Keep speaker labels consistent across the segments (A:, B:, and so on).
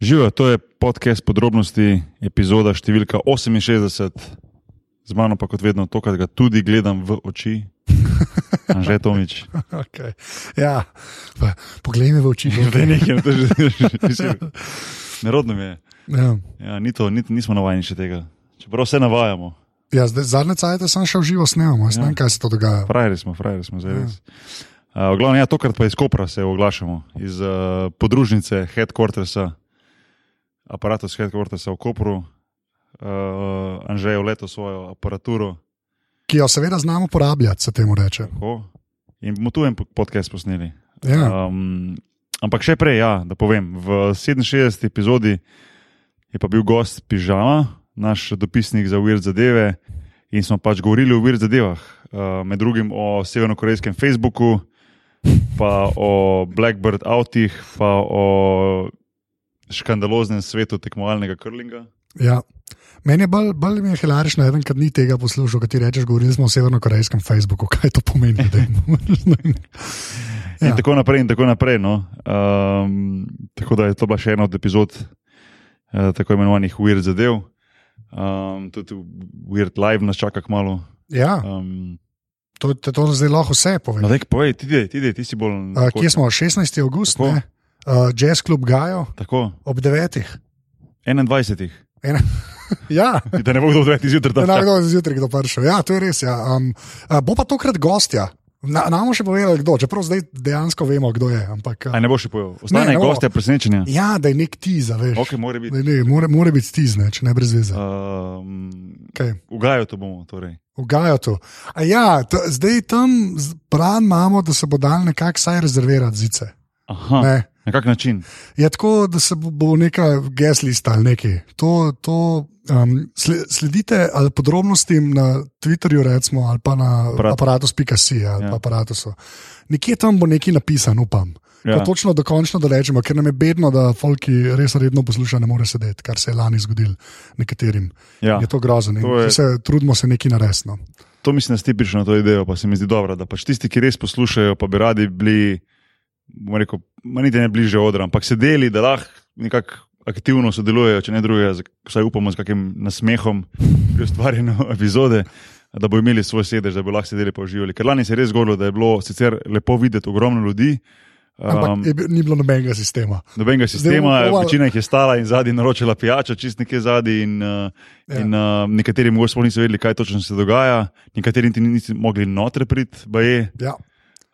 A: Živijo, to je podcast podrobnosti, epizoda številka 68, z mano pa kot vedno to, kar ga tudi gledam v oči. Anže Tomič.
B: Okay. Ja, pa poglej me v oči.
A: Zdaj nekaj, to že že. Nerodno mi je.
B: Ja.
A: Ja, ni to, ni, nismo navajeni še tega. Čeprav se navajamo.
B: Ja, zdaj, zadnje cajtke sem šel živo
A: Ja.
B: snemamo, jaz ne vem, kaj se to dogaja.
A: Frajeri smo, frajeri smo zdaj res. Uh, v glavnem, ja, tokrat pa iz Kopra se oglašamo, iz uh, podružnice headquartersa, aparatus headquartersa v Kopru. Uh, Anže je leto svojo aparaturo.
B: Ki jo seveda znamo uporabljati, se temu reče.
A: Tako. In bomo tu en po- podcast posneli.
B: Ja.
A: Um, ampak še prej, ja, da povem, v 67. epizodi je pa bil gost Pižama, naš dopisnik za Weird zadeve, in smo pač govorili o Weird zadevah, uh, med drugim o severnokorejskem Facebooku, pa o Blackbird avtih, pa o škandaloznem svetu tekmovalnega krlinga.
B: Ja. Meni je bolj, bolj mi je hilarično, eden, ker ni tega poslušal, kaj ti rečeš, govorili smo o severnokorejskem Facebooku, kaj to pomeni. ljudem? Ne vem.
A: In
B: Ja.
A: tako naprej, in tako naprej. No. Um, tako da je to bila še ena od epizod uh, tako imenovanih Weird zadev. Um, tudi Weird Live nas čaka kmalo.
B: ja,
A: Um,
B: to, to, to zdaj lahko vse povem.
A: no, daj, povej, ti, dej, ti, dej, ti si bolj.
B: Uh, kje smo? 16. august,
A: Tako.
B: uh, jazz klub Gajo
A: Tako,
B: ob 9.
A: 21.
B: Ena. ja.
A: Da ne bo kdo odveč zjutraj tam.
B: Enako je zjutraj, kdo prišel. Ja, to je res. Ja. Um, a, bo pa tokrat gostja. Na, nam bo še povedali, kdo, čeprav zdaj dejansko vemo, kdo je. Ampak,
A: Aj
B: a,
A: ne bo še pojel. Ostane
B: Ne, ne bo.
A: goste presenečenja.
B: ja, da je nek tiza, veš.
A: Ok, Ja. mora biti.
B: Ne, ne, more, more biti stizne, če ne brez veze.
A: Um,
B: Okay.
A: ugajo to bomo. Torej.
B: Ugajo to. A ja, to, zdaj tam z- plan imamo, da se bo dal nekako saj rezervirati zice.
A: Aha,
B: Ne.
A: na kak način?
B: Je Ja, tako, da se bo, bo neka geslista ali nekaj. To, to, um, sle- sledite ali podrobnostim na Twitterju, recimo, ali pa na
A: Aparatus.
B: aparatus.si ali
A: Ja.
B: ja. aparatusu. Nekje tam bo nekaj napisano, upam. Ja.
A: Ja.
B: Točno do končno, da rečemo, ker nam je bedno, da folki res redno poslušajo, ne more sedeti, kar se je lani zgodilo nekaterim.
A: Ja.
B: Ja. Je to grozno.
A: To
B: To
A: je-
B: je... Se, trudimo se nekaj no. naresno.
A: To mislim, da ste prišli na to idejo, pa se mi zdi dobro, da pač tisti, ki res poslušajo, pa bi radi bili, bom rekel, ma niti ne bliže odra, ampak sedeli, da lahko nekako aktivno sodelujejo, če ne drugega, z- vsaj upamo, z kakim nasmehom pri ustvarjanju epizode, da bo imeli svoj sedež, da bo lahko sedeli pa uživali. Ker lani se je res zgodilo, da je bilo sicer lepo videti ogromno ljudi,
B: Ampak um,
A: um,
B: je, bil- ni bilo nobenega sistema.
A: nobenega
B: bomo
A: sistema,
B: probali-
A: večina jih je stala in zadnji naročila pijačo, čist nekje zadnji. In, uh,
B: Ja.
A: ja. in uh, nekateri mogoče sploh niso vedeli, kaj točno se dogaja, nekateri niti niso mogli noter priti, baje.
B: Ja,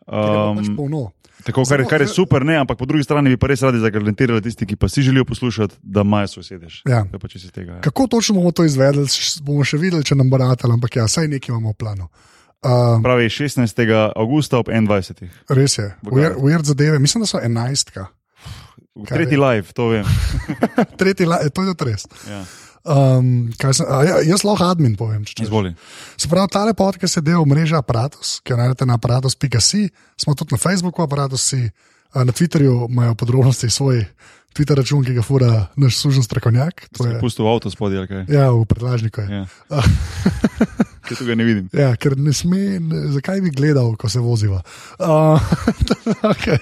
B: um, pač
A: Um,
B: polno.
A: tako, kar, je- kar je super, ne, ampak po drugi strani bi pa res radi zagarantirali tisti, ki pa si želijo poslušati, da imajo svoj sedež.
B: Ja.
A: To je pač iz tega. Ja.
B: Kako točno bomo to izvedli, š- bomo še videli, če nam bo ratalo, ampak ja, saj nekaj imamo v planu. Um,
A: Pravi 16. augusta ob 21.
B: res je, weird, weird zadeve, mislim, da so enajstka. Kar
A: Tretji live, to vem.
B: Tretji, la, eh, to je tudi res.
A: Ja.
B: Um, kaj sem, a, ja, jaz lahko admin povem. Če, če.
A: Izvoli.
B: Se pravi, ta podcast je del mreže Apparatus, ki jo najdete na apparatus.si, smo tudi na Facebooku, apparatus.si, na Twitterju imajo podrobnosti svoj Twitter račun, ki ga fura naš sužen strokovnjak. To je,
A: Pustil avto spodaj, ali kaj.
B: ja, v predlažniku je.
A: Ja. Če tega ne vidim.
B: Ja, ker ne sme, ne, zakaj bi gledal, ko se voziva. Uh, okay,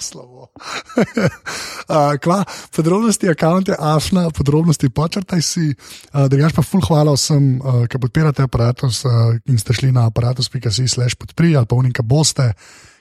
B: slabo. uh, kva, podrobnosti akonte, afna, podrobnosti počrtaj si. Uh, Drugač pa ful hvala vsem, uh, ki podpirate aparatus uh, in ste šli na aparatus.si slash podpri ali pa unika boste.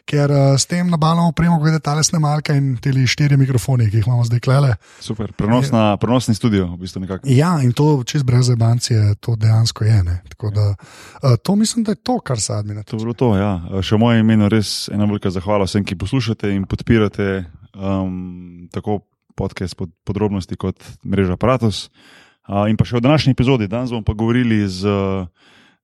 B: Ker uh, s tem nabalom opremo, glede tale snemalka in te štiri mikrofone, ki jih imamo zdaj klele.
A: Super, prenosna, prenosni studio, v bistvu nekako.
B: Ja, in to čez brez zebancije, to dejansko je. ne. Tako Da, uh, to mislim, da je to, kar se admina.
A: To je bilo to. Ja. Še v mojem imenu res ena velika zahvala vsem, ki poslušate in podpirate um, tako podcast pod podrobnosti kot mreža Apparatus. Uh, in pa še v današnji epizodi, danes bomo pa govorili z,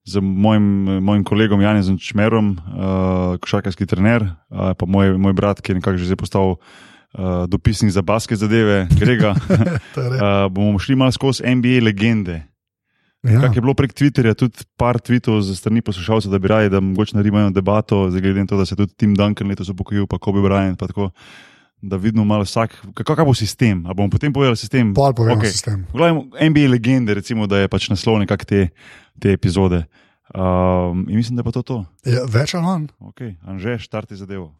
A: z mojim, mojim kolegom Janezom Čmerom, uh, košarkarski trener, uh, pa moj, moj brat, ki je nekako že zdaj postal uh, dopisnik za baske zadeve, Grega.
B: To je res.
A: uh, bomo šli malo skozi NBA legende.
B: Ja,
A: Kak je bilo prek Twitterja, tudi par tweetov za strani poslušalcev, da bi raje, da mogoče naredimo eno debato, zdaj glede na to, da se je tudi Tim Duncan letos upokojil, pa Kobe Bryant, pa tako, da vidimo malo vsak, kako bo sistem, ali bomo potem povedali sistem.
B: Pol povemo
A: Okej.
B: okay. sistem.
A: Glavno, NBA legende, recimo, da je pač naslov nekako te, te epizode. Um, in mislim, da je pa to to.
B: Je, Ja, več ali manj?
A: Ok, Anže, štarti zadevo.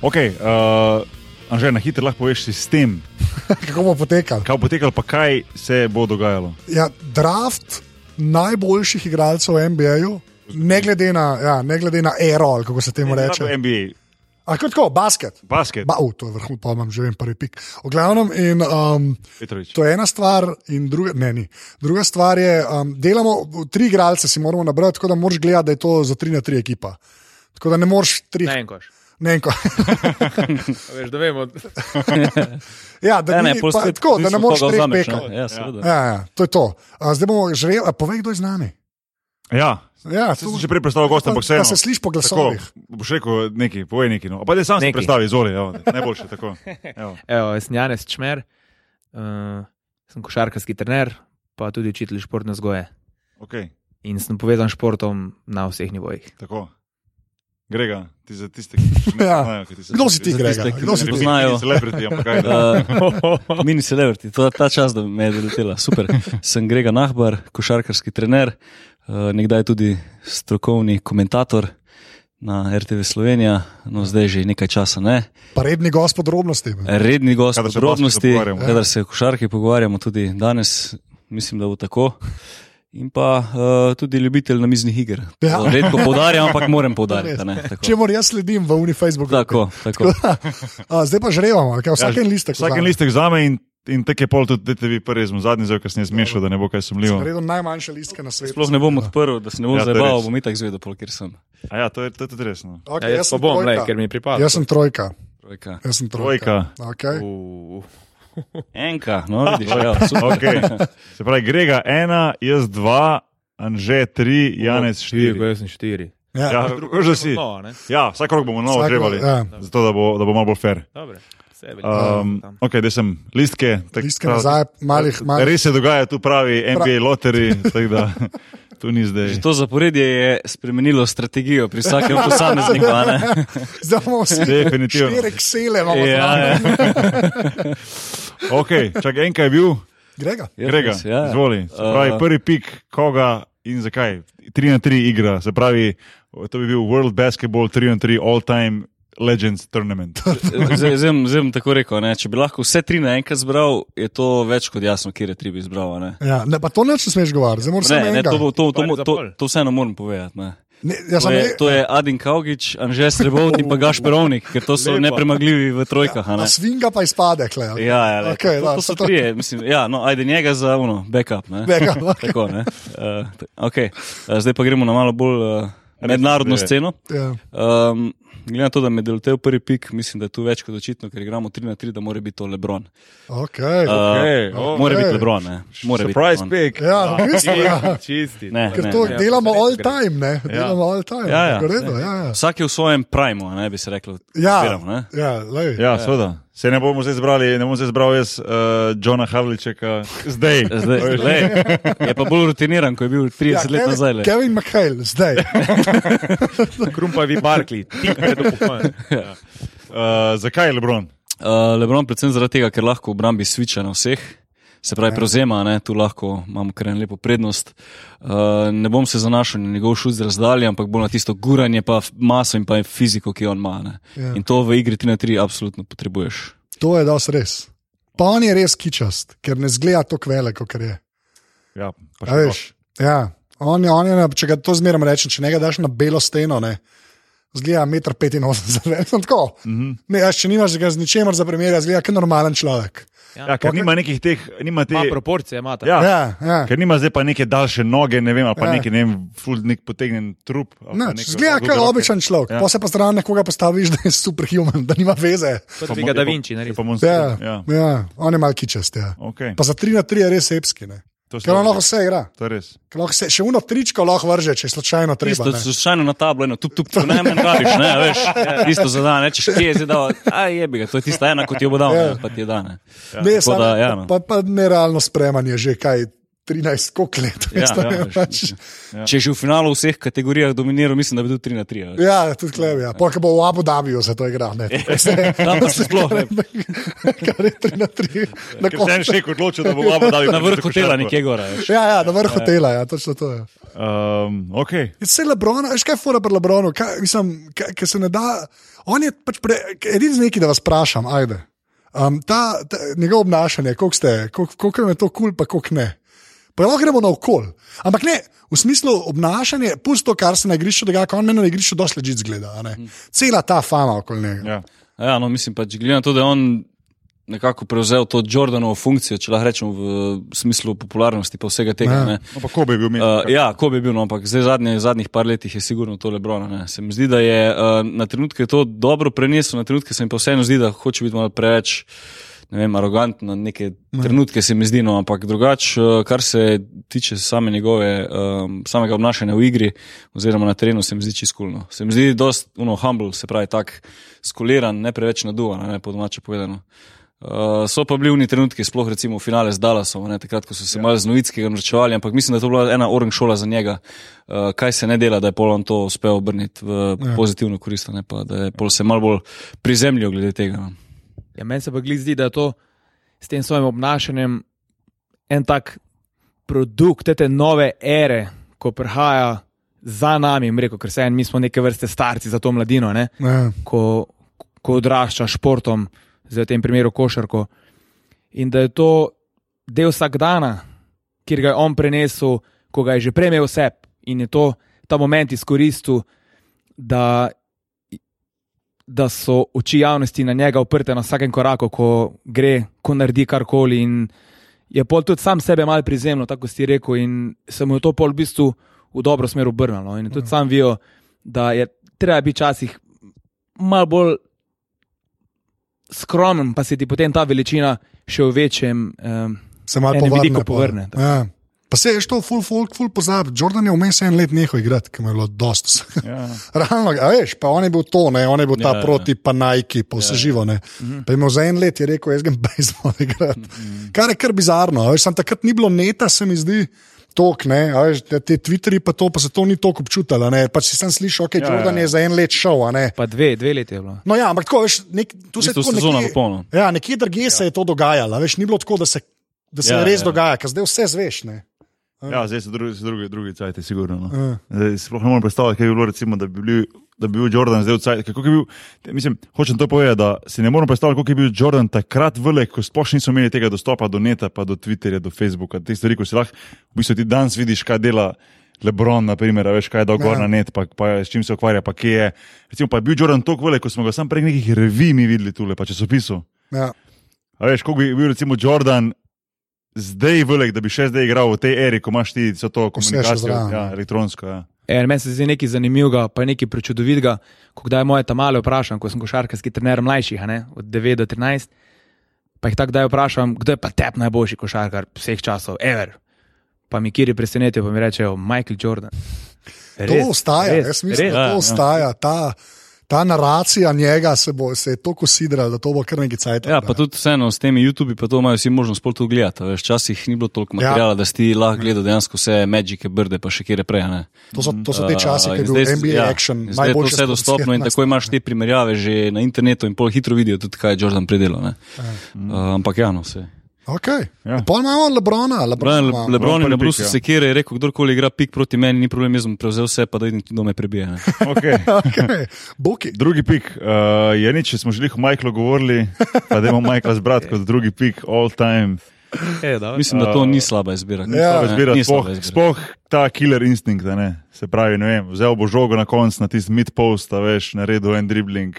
A: Okay, uh, Anže, na hitro lahko poveš sistem,
B: Kako bo potekal?
A: kaj bo potekalo, pa kaj se bo dogajalo.
B: Ja, draft najboljših igralcev v NBA-ju, ne glede na, ja, ne glede na ero, ali kako se temu reče.
A: NBA,
B: Ampak tako, basket.
A: basket, ba
B: Ba, uh, to je vrhunsko, pa imam že vem, prvi pik. V glavnem, in, um,
A: Petrovič.
B: to je ena stvar, in druga, ne, ni. druga stvar je, um, delamo tri igralce, si moramo nabrati, tako da moraš gledati, da je to za tri na tri ekipa. Tako da ne moreš tri,
C: Na en koš.
B: ne en ko.
C: A Veš, da vemo,
B: ja, da,
D: Ja,
B: ni,
D: ne, pol
B: pa,
D: spet
B: tako, da ne
D: odvisno
B: moreš
D: koga
B: treh
D: vzameš,
B: pekal.
D: ne. Ja, seveda.
B: Ja, ja, to je to. A, zdaj bomo žreli, a povej, kdo je z nami.
A: Ja,
B: Ja,
A: saj sem že prej predstavljal gosta, ampak
B: da
A: vseeno.
B: se sliši po
A: Tako,
B: glasovih.
A: boš rekel nekaj, povej nekaj. No. Pa da sam si
C: Nekaj.
A: predstavi, izoli, evo, najboljše tako. Evo.
C: Evo, jaz sem Janez Čmer, uh, sem košarkarski trener, pa tudi učitelj športne vzgoje.
A: Okay,
C: In sem povezan s športom na vseh nivojih.
A: tako. Grega, ti za tiste, ki ne
B: Ja.
A: znajo, ki ti se
B: Kdo si ti,
D: Za
B: Grega?
D: tiste, ki
B: Kdo si
D: ne
B: ti? Ja,
D: poznajo.
A: Znajo. Celebrity, ampak kaj da.
D: Uh, mini celebrity, to je ta čas, da me je doletela. Super. Sem Grega Nahbar, košarkarski trener, uh, nekdaj tudi strokovni komentator na RTV Slovenija, no zdaj že nekaj časa ne.
B: Pa redni gost podrobnosti.
D: Redni gost
A: Kadar se o basketu
D: podrobnosti,
A: pogovarjamo.
D: kadar se o košarki pogovarjamo, tudi danes, mislim, da bo tako. In pa uh, tudi ljubitelj namiznih iger.
B: Ja.
D: To Redko poudarjam, ampak moram poudariti. a ne, tako.
B: Če moram jaz sledim v Uni Facebooku.
D: Tako, tako.
B: A, zdaj pa žrevamo, kaj,
A: Ja,
B: vsak ja, en listek.
A: Vsak en listek zame in, in tek je pol tudi DTV prvi, smo zadnji, zdaj kasneje zmešal, da ne bo kaj sumljivo.
B: Naredil najmanjše listke na svetu.
D: Sploh ne bom odprl, da se ne bom
A: Ja,
D: ja,
A: to je
D: zabaval,
A: res.
D: bom itak zvedel, pol, kjer sem.
A: A ja, to je, to je tudi resno.
B: Okay,
C: Ja, jaz pa bom, lej, ker mi pripada.
B: Jaz sem trojka.
D: Trojka.
B: Jaz sem trojka.
A: Trojka.
B: Okay.
C: Uh,
D: Enka, no, vidiš, ja, super.
A: Okay. Se pravi, Grega ena, jaz dva, Anže tri, Janez
C: Štiri,
A: štiri.
C: jaz sem štiri.
A: Ja,
B: Ja.
A: veš, da si.
C: No, ne?
A: Ja, vsak rok bomo novo
B: Vsak rok,
A: žrebali,
B: ja.
A: zato da bo, da bo malo bolj fair.
C: Dobre, sebe.
A: Um, ok, da sem listke. tak-
B: Listke nazaj, malih, malih.
A: Res se dogaja tu pravi NBA loteri, tako da tu ni zdaj.
D: Že to zaporedje je spremenilo strategijo pri vsakem posamezniku. a ne?
B: Zdaj bomo vsi
A: Definitivno.
B: štiri ksele, imamo
D: Ja,
B: ja,
D: ja.
A: Ok, čak enkaj je bil,
B: Grega.
D: Ja,
A: Grega,
D: res, ja.
A: izvoli. Se pravi,
B: Uh,
D: Eh,
A: prvi pik, koga in zakaj. 3 na 3 igra, se pravi, to bi bil World Basketball 3 na 3 All Time Legends Tournament.
D: eh, Zdaj zdaj bom- zdaj bom tako rekel, ne? če bi lahko vse tri naenkrat zbral, je to več kot jasno, kje je tri bi zbral. a Ne?
B: Ja, ne, pa to neč ne smeš govoriti, zdaj moraš samo
D: Ne, ne,
B: enega.
D: to, bo- to, to,
C: Par
D: mo-
C: za
D: to,
C: pol.
D: to vseeno moram povedati. Ne?
B: Ne, ja,
D: To
B: samo
D: je, to je Adin Kavgič, Anže Srebovnik in pa Gašperovnik, ker to so
C: Lepo.
D: nepremagljivi v trojkah. a
B: na
D: ne.
B: svinga pa izpade, kle. ali.
D: Ja, ja,
B: Okej,
D: okay, to,
B: da,
D: to so
B: to-
D: trije. Mislim, ja, no, ajde njega za uno, backup. Ne?
B: Backup, no. okej.
D: Tako, ne? Uh, okay. uh, zdaj pa gremo na malo bolj uh, mednarodno
A: zadeve.
D: sceno.
B: Ja.
D: Um, glede na to, da me delotev prvi pik, mislim, da je tu več kot očitno, ker igramo 3 na 3, da mora biti to Lebron.
B: Okay.
D: Uh,
A: Okej, okej.
D: Mora biti Lebron, ne? Mora biti
A: Surprise
D: LeBron.
A: pick.
B: ja, v bistvu, ja.
C: Čisti.
D: Ne,
B: Ker
D: ne,
B: to
D: ne.
C: ja.
B: delamo
C: Res
B: all
C: gre.
B: time, ne? Delamo all time.
D: Ja, ja.
B: V redu, ja, ja.
D: Vsak je v svojem primu, a ne bi se reklo.
B: Ja,
D: Zbiram, ne?
B: ja, lej.
A: Ja, seveda. Se ne bomo zdaj zbrali, ne bom zdaj zbral jaz uh, Johna Havličeka zdaj.
D: Zdaj, lej, je pa bolj rutiniran, kot je bil 30 ja, let
B: Kevin-
D: nazaj. le.
B: Kevin McHale, zdaj.
C: Krumpavi Barkli, ti pred upokojem.
A: Uh, Ja. zakaj je Lebron?
D: Uh, Lebron, predvsem zaradi tega, ker lahko v obrambi sviča na vseh, se pravi,
B: Ja.
D: prevzema, ne, tu lahko imamo kar en lepo prednost. Uh, ne bom se zanašal na njegov šut z razdalje, ampak bolj na tisto guranje, pa f- maso in pa fiziko, ki jo on ima. ne.
B: Ja.
D: In to v igri 3 na 3 absolutno potrebuješ.
B: To je dosti res. Pa on je res kičast, ker ne zgleda tako velik, kot je.
A: Ja, pa še
B: A
A: to.
B: veš, Ja, on je, on je, na- če ga to zmeraj rečem, če ne ga daš na belo steno, ne. Zgleda 1,85 m, no, tako.
A: Mhm.
B: Ne, jaz, če nimaš ga z ničemer za primer, ja, zgleda kot normalen človek.
A: Ja, ker nima nekih teh, nima te.
C: Ma proporcije, ima ta.
A: Ja.
B: Ja, ja.
A: Ker nima zdaj pa neke daljše noge, ne vem, ali pa
B: Ja.
A: ja. neki, ne vem, full nek potegnen trup. ali pa
B: Ne,
A: neke
B: zgleda
A: dolge
B: kot
A: roke.
B: običajen človek,
A: Ja.
B: ja. pa se pa zraven nekoga postaviš, da je superhuman, da nima veze.
C: Kot
A: Pa
C: bi
A: mo-
C: ga Da
A: je pa-
C: Vinci
A: je
C: naredil.
A: pa monster.
B: Ja,
A: Ja.
B: ja, on je mal kičast. Ja.
A: Okay.
B: Pa za 3 na 3 je res epski, ne.
A: To,
B: ker on lahko
A: lahko...
B: vse igra.
A: to je res.
B: Ker Lahko se, še uno tričko lahko vrže, če je slučajno treba.
D: Tisto,
B: ne.
D: slučajno na tablo, eno, tu, tu, tu najmanj rabiš, ne, a veš,
B: Ja.
D: tisto zadane, rečeš, kje je zdaj dal, a je bi ga, to je tista ena, kot jo bo dal,
B: Ja.
D: ne, pa ti je dane.
B: Ne,
D: Tako
B: samo,
D: da, ja,
B: da,
D: no.
B: pa, pa nerealno spremanje, že kaj 13 skok let.
D: Ja,
B: veš, to
D: ja,
B: je
D: veš,
B: pač-
A: Ja.
D: Če je že v finalu v vseh kategorijah dominiral, mislim, da bi bil 3 na 3. ali?
B: Ja, tudi klem. Ja. Polk bo v Abu Dhabiju se to igra. Ne,
D: Ja, Tam pa se sploh ne.
B: Kar je 3 na 3. Na
A: Ker se en
B: koncu.
A: šejk odločil, da bo vama dal
D: Na vrhu tela nekje gora. veš.
B: Ja, ja, na vrhu tela, ja, točno to je.
A: Um, ok,
B: Vse Lebron, a veš kaj je fora pri Lebronu, kaj, mislim, kaj, kaj se ne da. On je pač pre, edini z neki, da vas vprašam, ajde. Um, ta, ta, njegovo obnašanje, koliko ste, koliko- koliko vam je to kul, cool, pa koliko ne. Pa lahko gremo na okol. Ampak ne, v smislu obnašanja, pusto, kar se na igrišču dogaja, ko on meni na igrišču dosti ležit zgleda. a ne. Cela ta fama okoli njega.
A: ja.
D: Ja, no, mislim pač, glede na to, da je on nekako prevzel to Jordanovo funkcijo, če lahko rečemo v smislu popularnosti pa vsega tega.
B: Ja.
D: Ne.
A: ampak ko bi bil mi?
D: Uh, ja, ko bi bil, no, ampak zdaj zadnje, zadnjih par letih je sigurno to Lebron. Ne. Se mi zdi, da je uh, na trenutke to dobro prenesel, na trenutke se mi pa vseeno zdi, da hoče biti malo preveč. Ne vem, arogantno, neke trenutke se mi zdi, no, ampak drugače, eh, kar se tiče same njegove, um, samega obnašanja v igri, oziroma na terenu, se mi zdi čiskulno. Se mi zdi, da je humble, se pravi, tako skoliran, ne preveč naduvan, ne po domače povedano. Uh, so pa bili oni trenutki, sploh recimo v finale z Dallasom, ne, takrat, ko so se ja. malo z novitskega norčevali, ampak mislim, da je to bila ena orang šola za njega, uh, kaj se ne dela, da je pol on to uspel obrniti v ja. pozitivno korist, ne pa da je pol se malo bolj prizemljil glede tega. no.
C: Ja, meni se pa glej zdi, da je to s tem svojim obnašanjem en tak produkt te, te nove ere, ko prihaja za nami, jim rekel, ker se en, mi smo neke vrste starci za to mladino, ne?
B: Ja.
C: ko, ko odrašča s športom, zdaj v tem primeru košarko. In da je to del vsakdana, kjer ga je on prenesel, ko ga je že prej imel vse in je to ta moment izkoristil, da, da so oči javnosti na njega uprte na vsakem koraku, ko gre, ko naredi karkoli. In je pol tudi sam sebe malo prizemno, tako kot si rekel, in se mu je to pol v bistvu v dobro smer obrnilo. No, In je tudi sam vijo, da je treba biti včasih malo bolj skromen, pa se ti potem ta veličina še v večjem. Um,
B: se malo
C: Enem
B: povrne.
C: vidiku
B: pol.
C: povrne, tako.
B: Ja. Pa se je šlo, full folk, full pozab. Jordan je vmes en let nehal igrati, ki mu je bilo dost.
A: Ja.
B: Realno, a veš, pa on je bil to, ne? on je bil ta
D: Ja,
B: ja,
D: ja.
B: proti, pa najki, pa vse ja, živo. Ne? Pa je imel za en let, je rekel, jaz grem bejzbol igrati. Kar je kar bizarno, a veš, sam takrat ni bilo neta, se mi zdi. Tok, ne, a veš, te Twitterji pa to, pa se to ni tako občutilo. ne. Pač si sem slišal, ok,
A: Ja,
B: Jordan
A: ja.
B: je za en let šel. a ne.
C: pa dve, dve leti je bilo.
B: No, ja, ampak tako, veš, nek, tu se je
D: bistvu
B: tako
D: sezona
B: nekje-
D: v polno.
B: Ja, nekje drugje ja. se je to dogajalo, veš, ni bilo tako, da se, da se ja,
D: Ja,
B: res ja.
D: ja.
B: dogaja, ker zdaj vse zveš. Ne?
A: Ja, zdaj so drugi, so drugi, drugi cajti, sigurno. No.
B: Ja.
A: Zdaj, si sploh ne morem predstavljati, kaj bi bilo, recimo, da, bi bili, da bi bil Jordan zdaj v cajti. Kako je bil, te- mislim, hočem to povedati, da si ne morem predstavljati, kako je bil Jordan takrat velik, ko sploh še niso imeli tega dostopa do neta, pa do Twitterja, do Facebooka, te stvari, ko si lahko, v bistvu ti danes vidiš, kaj dela. Lebron, na primer, a veš, kaj je dal gor
B: Ja.
A: na net, pa, pa s čim se ukvarja, pa kje je. Recimo, pa je bil Jordan tako velik, ko smo ga sam prek nekih revij mi videli tule, pa časopisov.
B: Ja.
A: A veš, kako bi bil recimo Jordan zdaj velik, da bi še zdaj igral v tej eri, ko imaš ti vso to
B: Vse še
A: komunikacijo,
B: zraven.
A: ja, elektronsko. Ja.
C: E, meni se zdi nekaj zanimivega, pa nekaj prečudovitega. Ko kdaj moje tam male vprašam, ko sem košarkarski trener mlajših, a ne, od 9 do 13, pa jih tako kdaj vprašam, kdo je pa tep najboljši košarkar vseh časov, ever. Pa mi kiri presenetijo, pa mi rečejo Michael Jordan.
B: To ostaja, res, jaz mislim, res, da
D: ja,
B: to
D: ja.
B: ostaja. Ta, ta naracija njega se, bo, se je tako sidrala, da to bo kar nekaj cajt.
D: Ja, pa tudi vseeno s temi YouTubi, pa to imajo vsi možnost pol to gledati. a Veš, včasih ni bilo toliko
B: Ja.
D: materijala, ja. da si ti lahko gledal dejansko vse Magike, brde, pa še kjer prej. a Ne.
B: to, so, to so te časi,
D: Uh,
B: ki je
D: in
B: bil
D: zdaj-
B: NBA
D: ja,
B: action.
D: in Zdaj je to
B: najboljše
D: vse dostopno in
B: sport
D: tako imaš te primerjave že na internetu in pol hitro vidijo tudi, kaj je Jordan predelal. ne. Uh, ampak ja, no vse.
B: Okay.
A: Ja.
B: Ja. Pol imamo Lebrona, Lebrona.
D: Brian Le
B: imamo.
D: Lebron je
A: prvi
D: na
A: pik,
D: Brusu
A: ja.
D: sekire je rekel, kdorkoli igra pik proti meni, ni problem, jaz bom prevzel vse, pa da idem tudi do me prebije. ne.
A: Okay.
B: okay. Boki.
A: Drugi pik, uh, je nič, če smo že o Michaelu govorili, pa da imamo Michaela zbrati kot drugi pik all time.
C: E, dobro.
D: Mislim, da to ni slaba izbira.
B: Ja.
A: Slaba izbira,
D: ni
A: Sploh
D: slaba izbira.
A: sploh ta killer instinkt, a ne? se pravi, ne vem, vzel bo žogo na koncu na tisti mid-post, a veš, naredil en dribbling,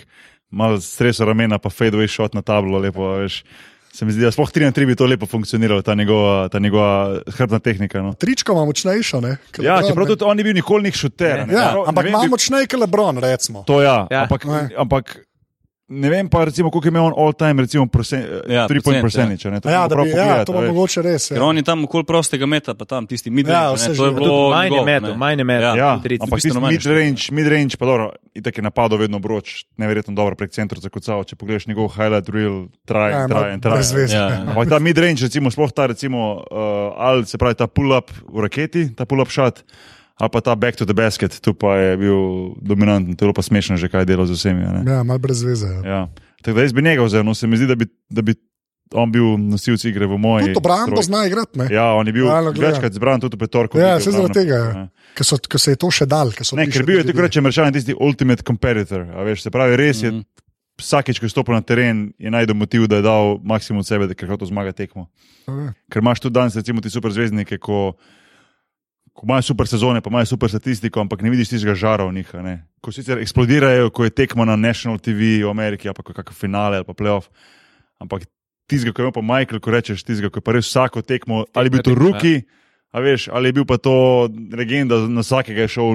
A: malo stresel ramena, pa fadeaway shot na tablo, lepo, a veš. Se mi zdi, da sploh 3 na 3 bi to lepo funkcioniralo, ta njegova, ta njegova hrbna tehnika. No.
B: Tričko ima močnejšo, ne? kot
A: Ja,
B: Lebron,
A: čeprav
B: ne.
A: tudi on ni bil nikoli nek šuter.
C: Ne.
A: ne.
B: Ja,
A: Čeprav-
B: ampak
A: ne vem,
B: ima
A: bi-
B: močnejši kot Lebron, recimo.
A: To ja,
C: Ja.
A: ampak,
B: Ne.
A: ampak Ne vem pa, recimo, koliko je imel on all time, recimo, prosen, ja,
D: Ja,
A: tri
D: procent,
A: point
D: ja.
A: percentage. a ne,
B: A Ja,
A: bi
B: da
A: bilo
B: bi,
A: prav
B: ja,
A: pogledati,
B: to
A: a
B: bo
A: veš.
B: mogoče res.
D: Ker
B: Ja.
D: on je tam okoli prostega meta, pa tam tisti midrange.
B: Ja, vse
D: ne, to je
B: življenje.
D: bilo
C: Manj je
D: njegov,
C: metal,
D: ne.
C: manj je metal.
D: Ja,
A: Ja,
C: Trideset.
A: ampak
D: Bistveno
A: tisti
D: manj je
A: midrange, midrange, pa dobro, itak je napadal vedno broč, neverjetno dobro prek centra zakucao. Če pogledaš njegov highlight reel, traj,
B: Ja,
A: ja,
B: ima
A: traj, in traj.
B: brez veze.
D: Ja, ja.
A: Ampak ta midrange, recimo, sploh ta, recimo, uh, ali se pravi ta pull-up v raketi, ta pull-up šat, ali pa ta back to the basket, tu pa je bil dominanten, telo pa smešno že kaj delo z vsemi. a ne.
B: Ja, malo brez veze. Ja.
A: Ja. Tako da jaz bi njega vzel, no se mi zdi, da bi, da bi on bil nosilec igre v moji.
B: Tudi obrambo
A: trojki.
B: zna igrati, ja.
A: Ja, on je bil
B: Realno gledano.
A: večkrat zbran tudi v petorku.
B: Ja,
A: tudi
B: saj
A: obrambno.
B: zaradi tega, ja.
A: Ja.
B: ker, so, ker se je to še dal. ker so
A: Ne,
B: prišli
A: ker bil je
B: ljudje.
A: tako rečen, rečen tisti ultimate competitor. a Veš, se pravi, res je, mm
D: Mhm.
A: -hmm. vsakeč, ko je stopil na teren, je najdel motiv, da je dal maksimum od sebe, da je hotel zmagati tekmo.
B: Ja.
A: Ker imaš tudi danes, recimo, ti super zvezdnike, ko, ko imajo super sezone, pa imajo super statistiko, ampak ne vidiš tistega žara v njih. a ne. Ko sicer eksplodirajo, ko je tekmo na National TV v Ameriki, ali pa ko je kakšen finale ali pa playoff. Ampak tizga, ko je imel pa Michael, ko rečeš tizga, ko je pa res vsako tekmo, ali je bil to
D: tekmo, ja.
A: ruki, a veš, ali je bil pa to legenda, na vsakega je šel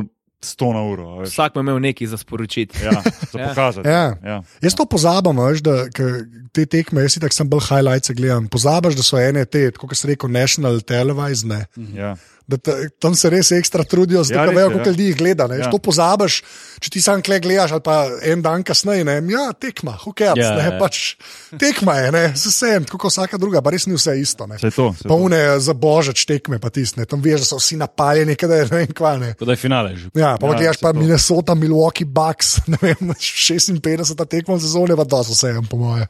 A: 100 na uro. a veš.
C: Vsak bo imel nekaj za sporočiti.
A: Ja, za
C: Ja.
A: pokazati.
B: Ja.
A: Ja.
B: Jaz to pozabim, a veš, da ke te tekme, jaz si tako sem bolj highlights gledam. Pozabiš, da so ene te, kot se reče, national televised, ne.
A: Ja.
B: da te, tam se res ekstra trudijo,
A: Ja,
B: zdaj ja,
A: res
B: vejo,
A: je,
B: koliko
A: ja.
B: ljudi jih gleda. Ja.
A: Ja.
B: To pozabiš, če ti sam kle gledaš, ali pa en dan kasneje, ne, ja, tekma, hokej,
D: Ja,
B: ja, ne,
D: ja.
B: pač tekma je, ne, saj vsem, tako kot vsaka druga, pa res ni vse isto. Ne.
A: Saj to, saj
B: Pa
A: to.
B: une za božeč tekme, pa tiste, tam veš, da so vsi napaljeni, kaj da je ne vem kva. Ne.
D: Tako da je finale že.
B: Ja, pa ja,
A: Ja,
B: gledaš
A: saj
B: pa
A: to.
B: Minnesota, Milwaukee, Bucks, ne vem, 56 tekmo sezone, pa dosto vsem, po moje.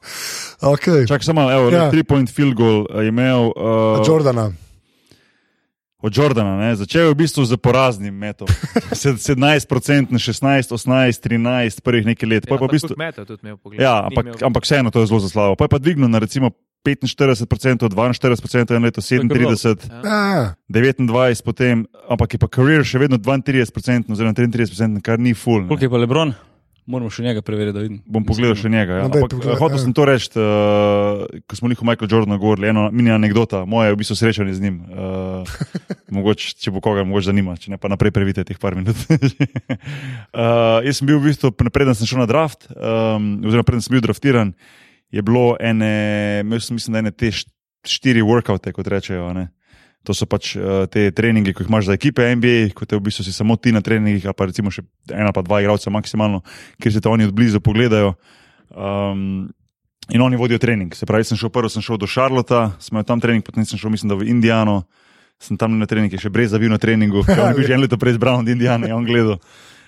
B: Okay.
A: Čak samo, malo, evo,
B: Ja.
A: ja. tri point field goal eh, je imel. Uh,
B: Jordana.
A: od Jordana. Ne? Začel je v bistvu z poraznim metom. Sed- 17%, na 16, 18, 13, prvih nekaj let. Ja, pa v bistvu,
C: Metal tudi imel pogled.
A: ja,
C: Ni
A: ampak,
C: imel-
A: ampak vseeno to je zelo zaslavo. Pa je pa dvignil na recimo 45%, 42%, eno leto
D: je bilo.
A: 37,
C: Ja.
B: Ja,
A: 29, potem, ampak je pa karier še vedno 32%, oziroma 33%, kar ni full. Ne?
D: Koliko je pa Lebron? Moramo še njega preveriti, da vidim.
A: Bom pogledal še njega. Ja.
B: No, daj
A: Ampak, eh,
B: pogled-
A: hotel sem to reči, uh, ko smo jih o Michaelu Jordanu govorili, ena mini anekdota, moja je v bistvu srečanje z njim. Uh, mogoče, če bo koga mogoče zanima, če ne pa naprej previte teh par minut. uh, jaz sem bil v bistvu, pre- preden sem šel na draft, um, oziroma preden sem bil draftiran, je bilo ene, imel sem mislim, da ene te št- štiri workoute, kot rečejo. a Ne? To so pač uh, te treninge, ki jih imaš za ekipe NBA, kot je v bistvu si samo ti na treningih, ali pa recimo še ena pa dva igralca maksimalno, kjer se te oni odblizu pogledajo. Um, in oni vodijo trening. Se pravi, sem šel prvo, sem šel do Šarlota, sem imel tam trening, potem sem šel, mislim, da v Indijano, sem tam na trening, je še brez zavil na treningu, ker on je bil že eno leto brez Brown od Indijane, je on gledal.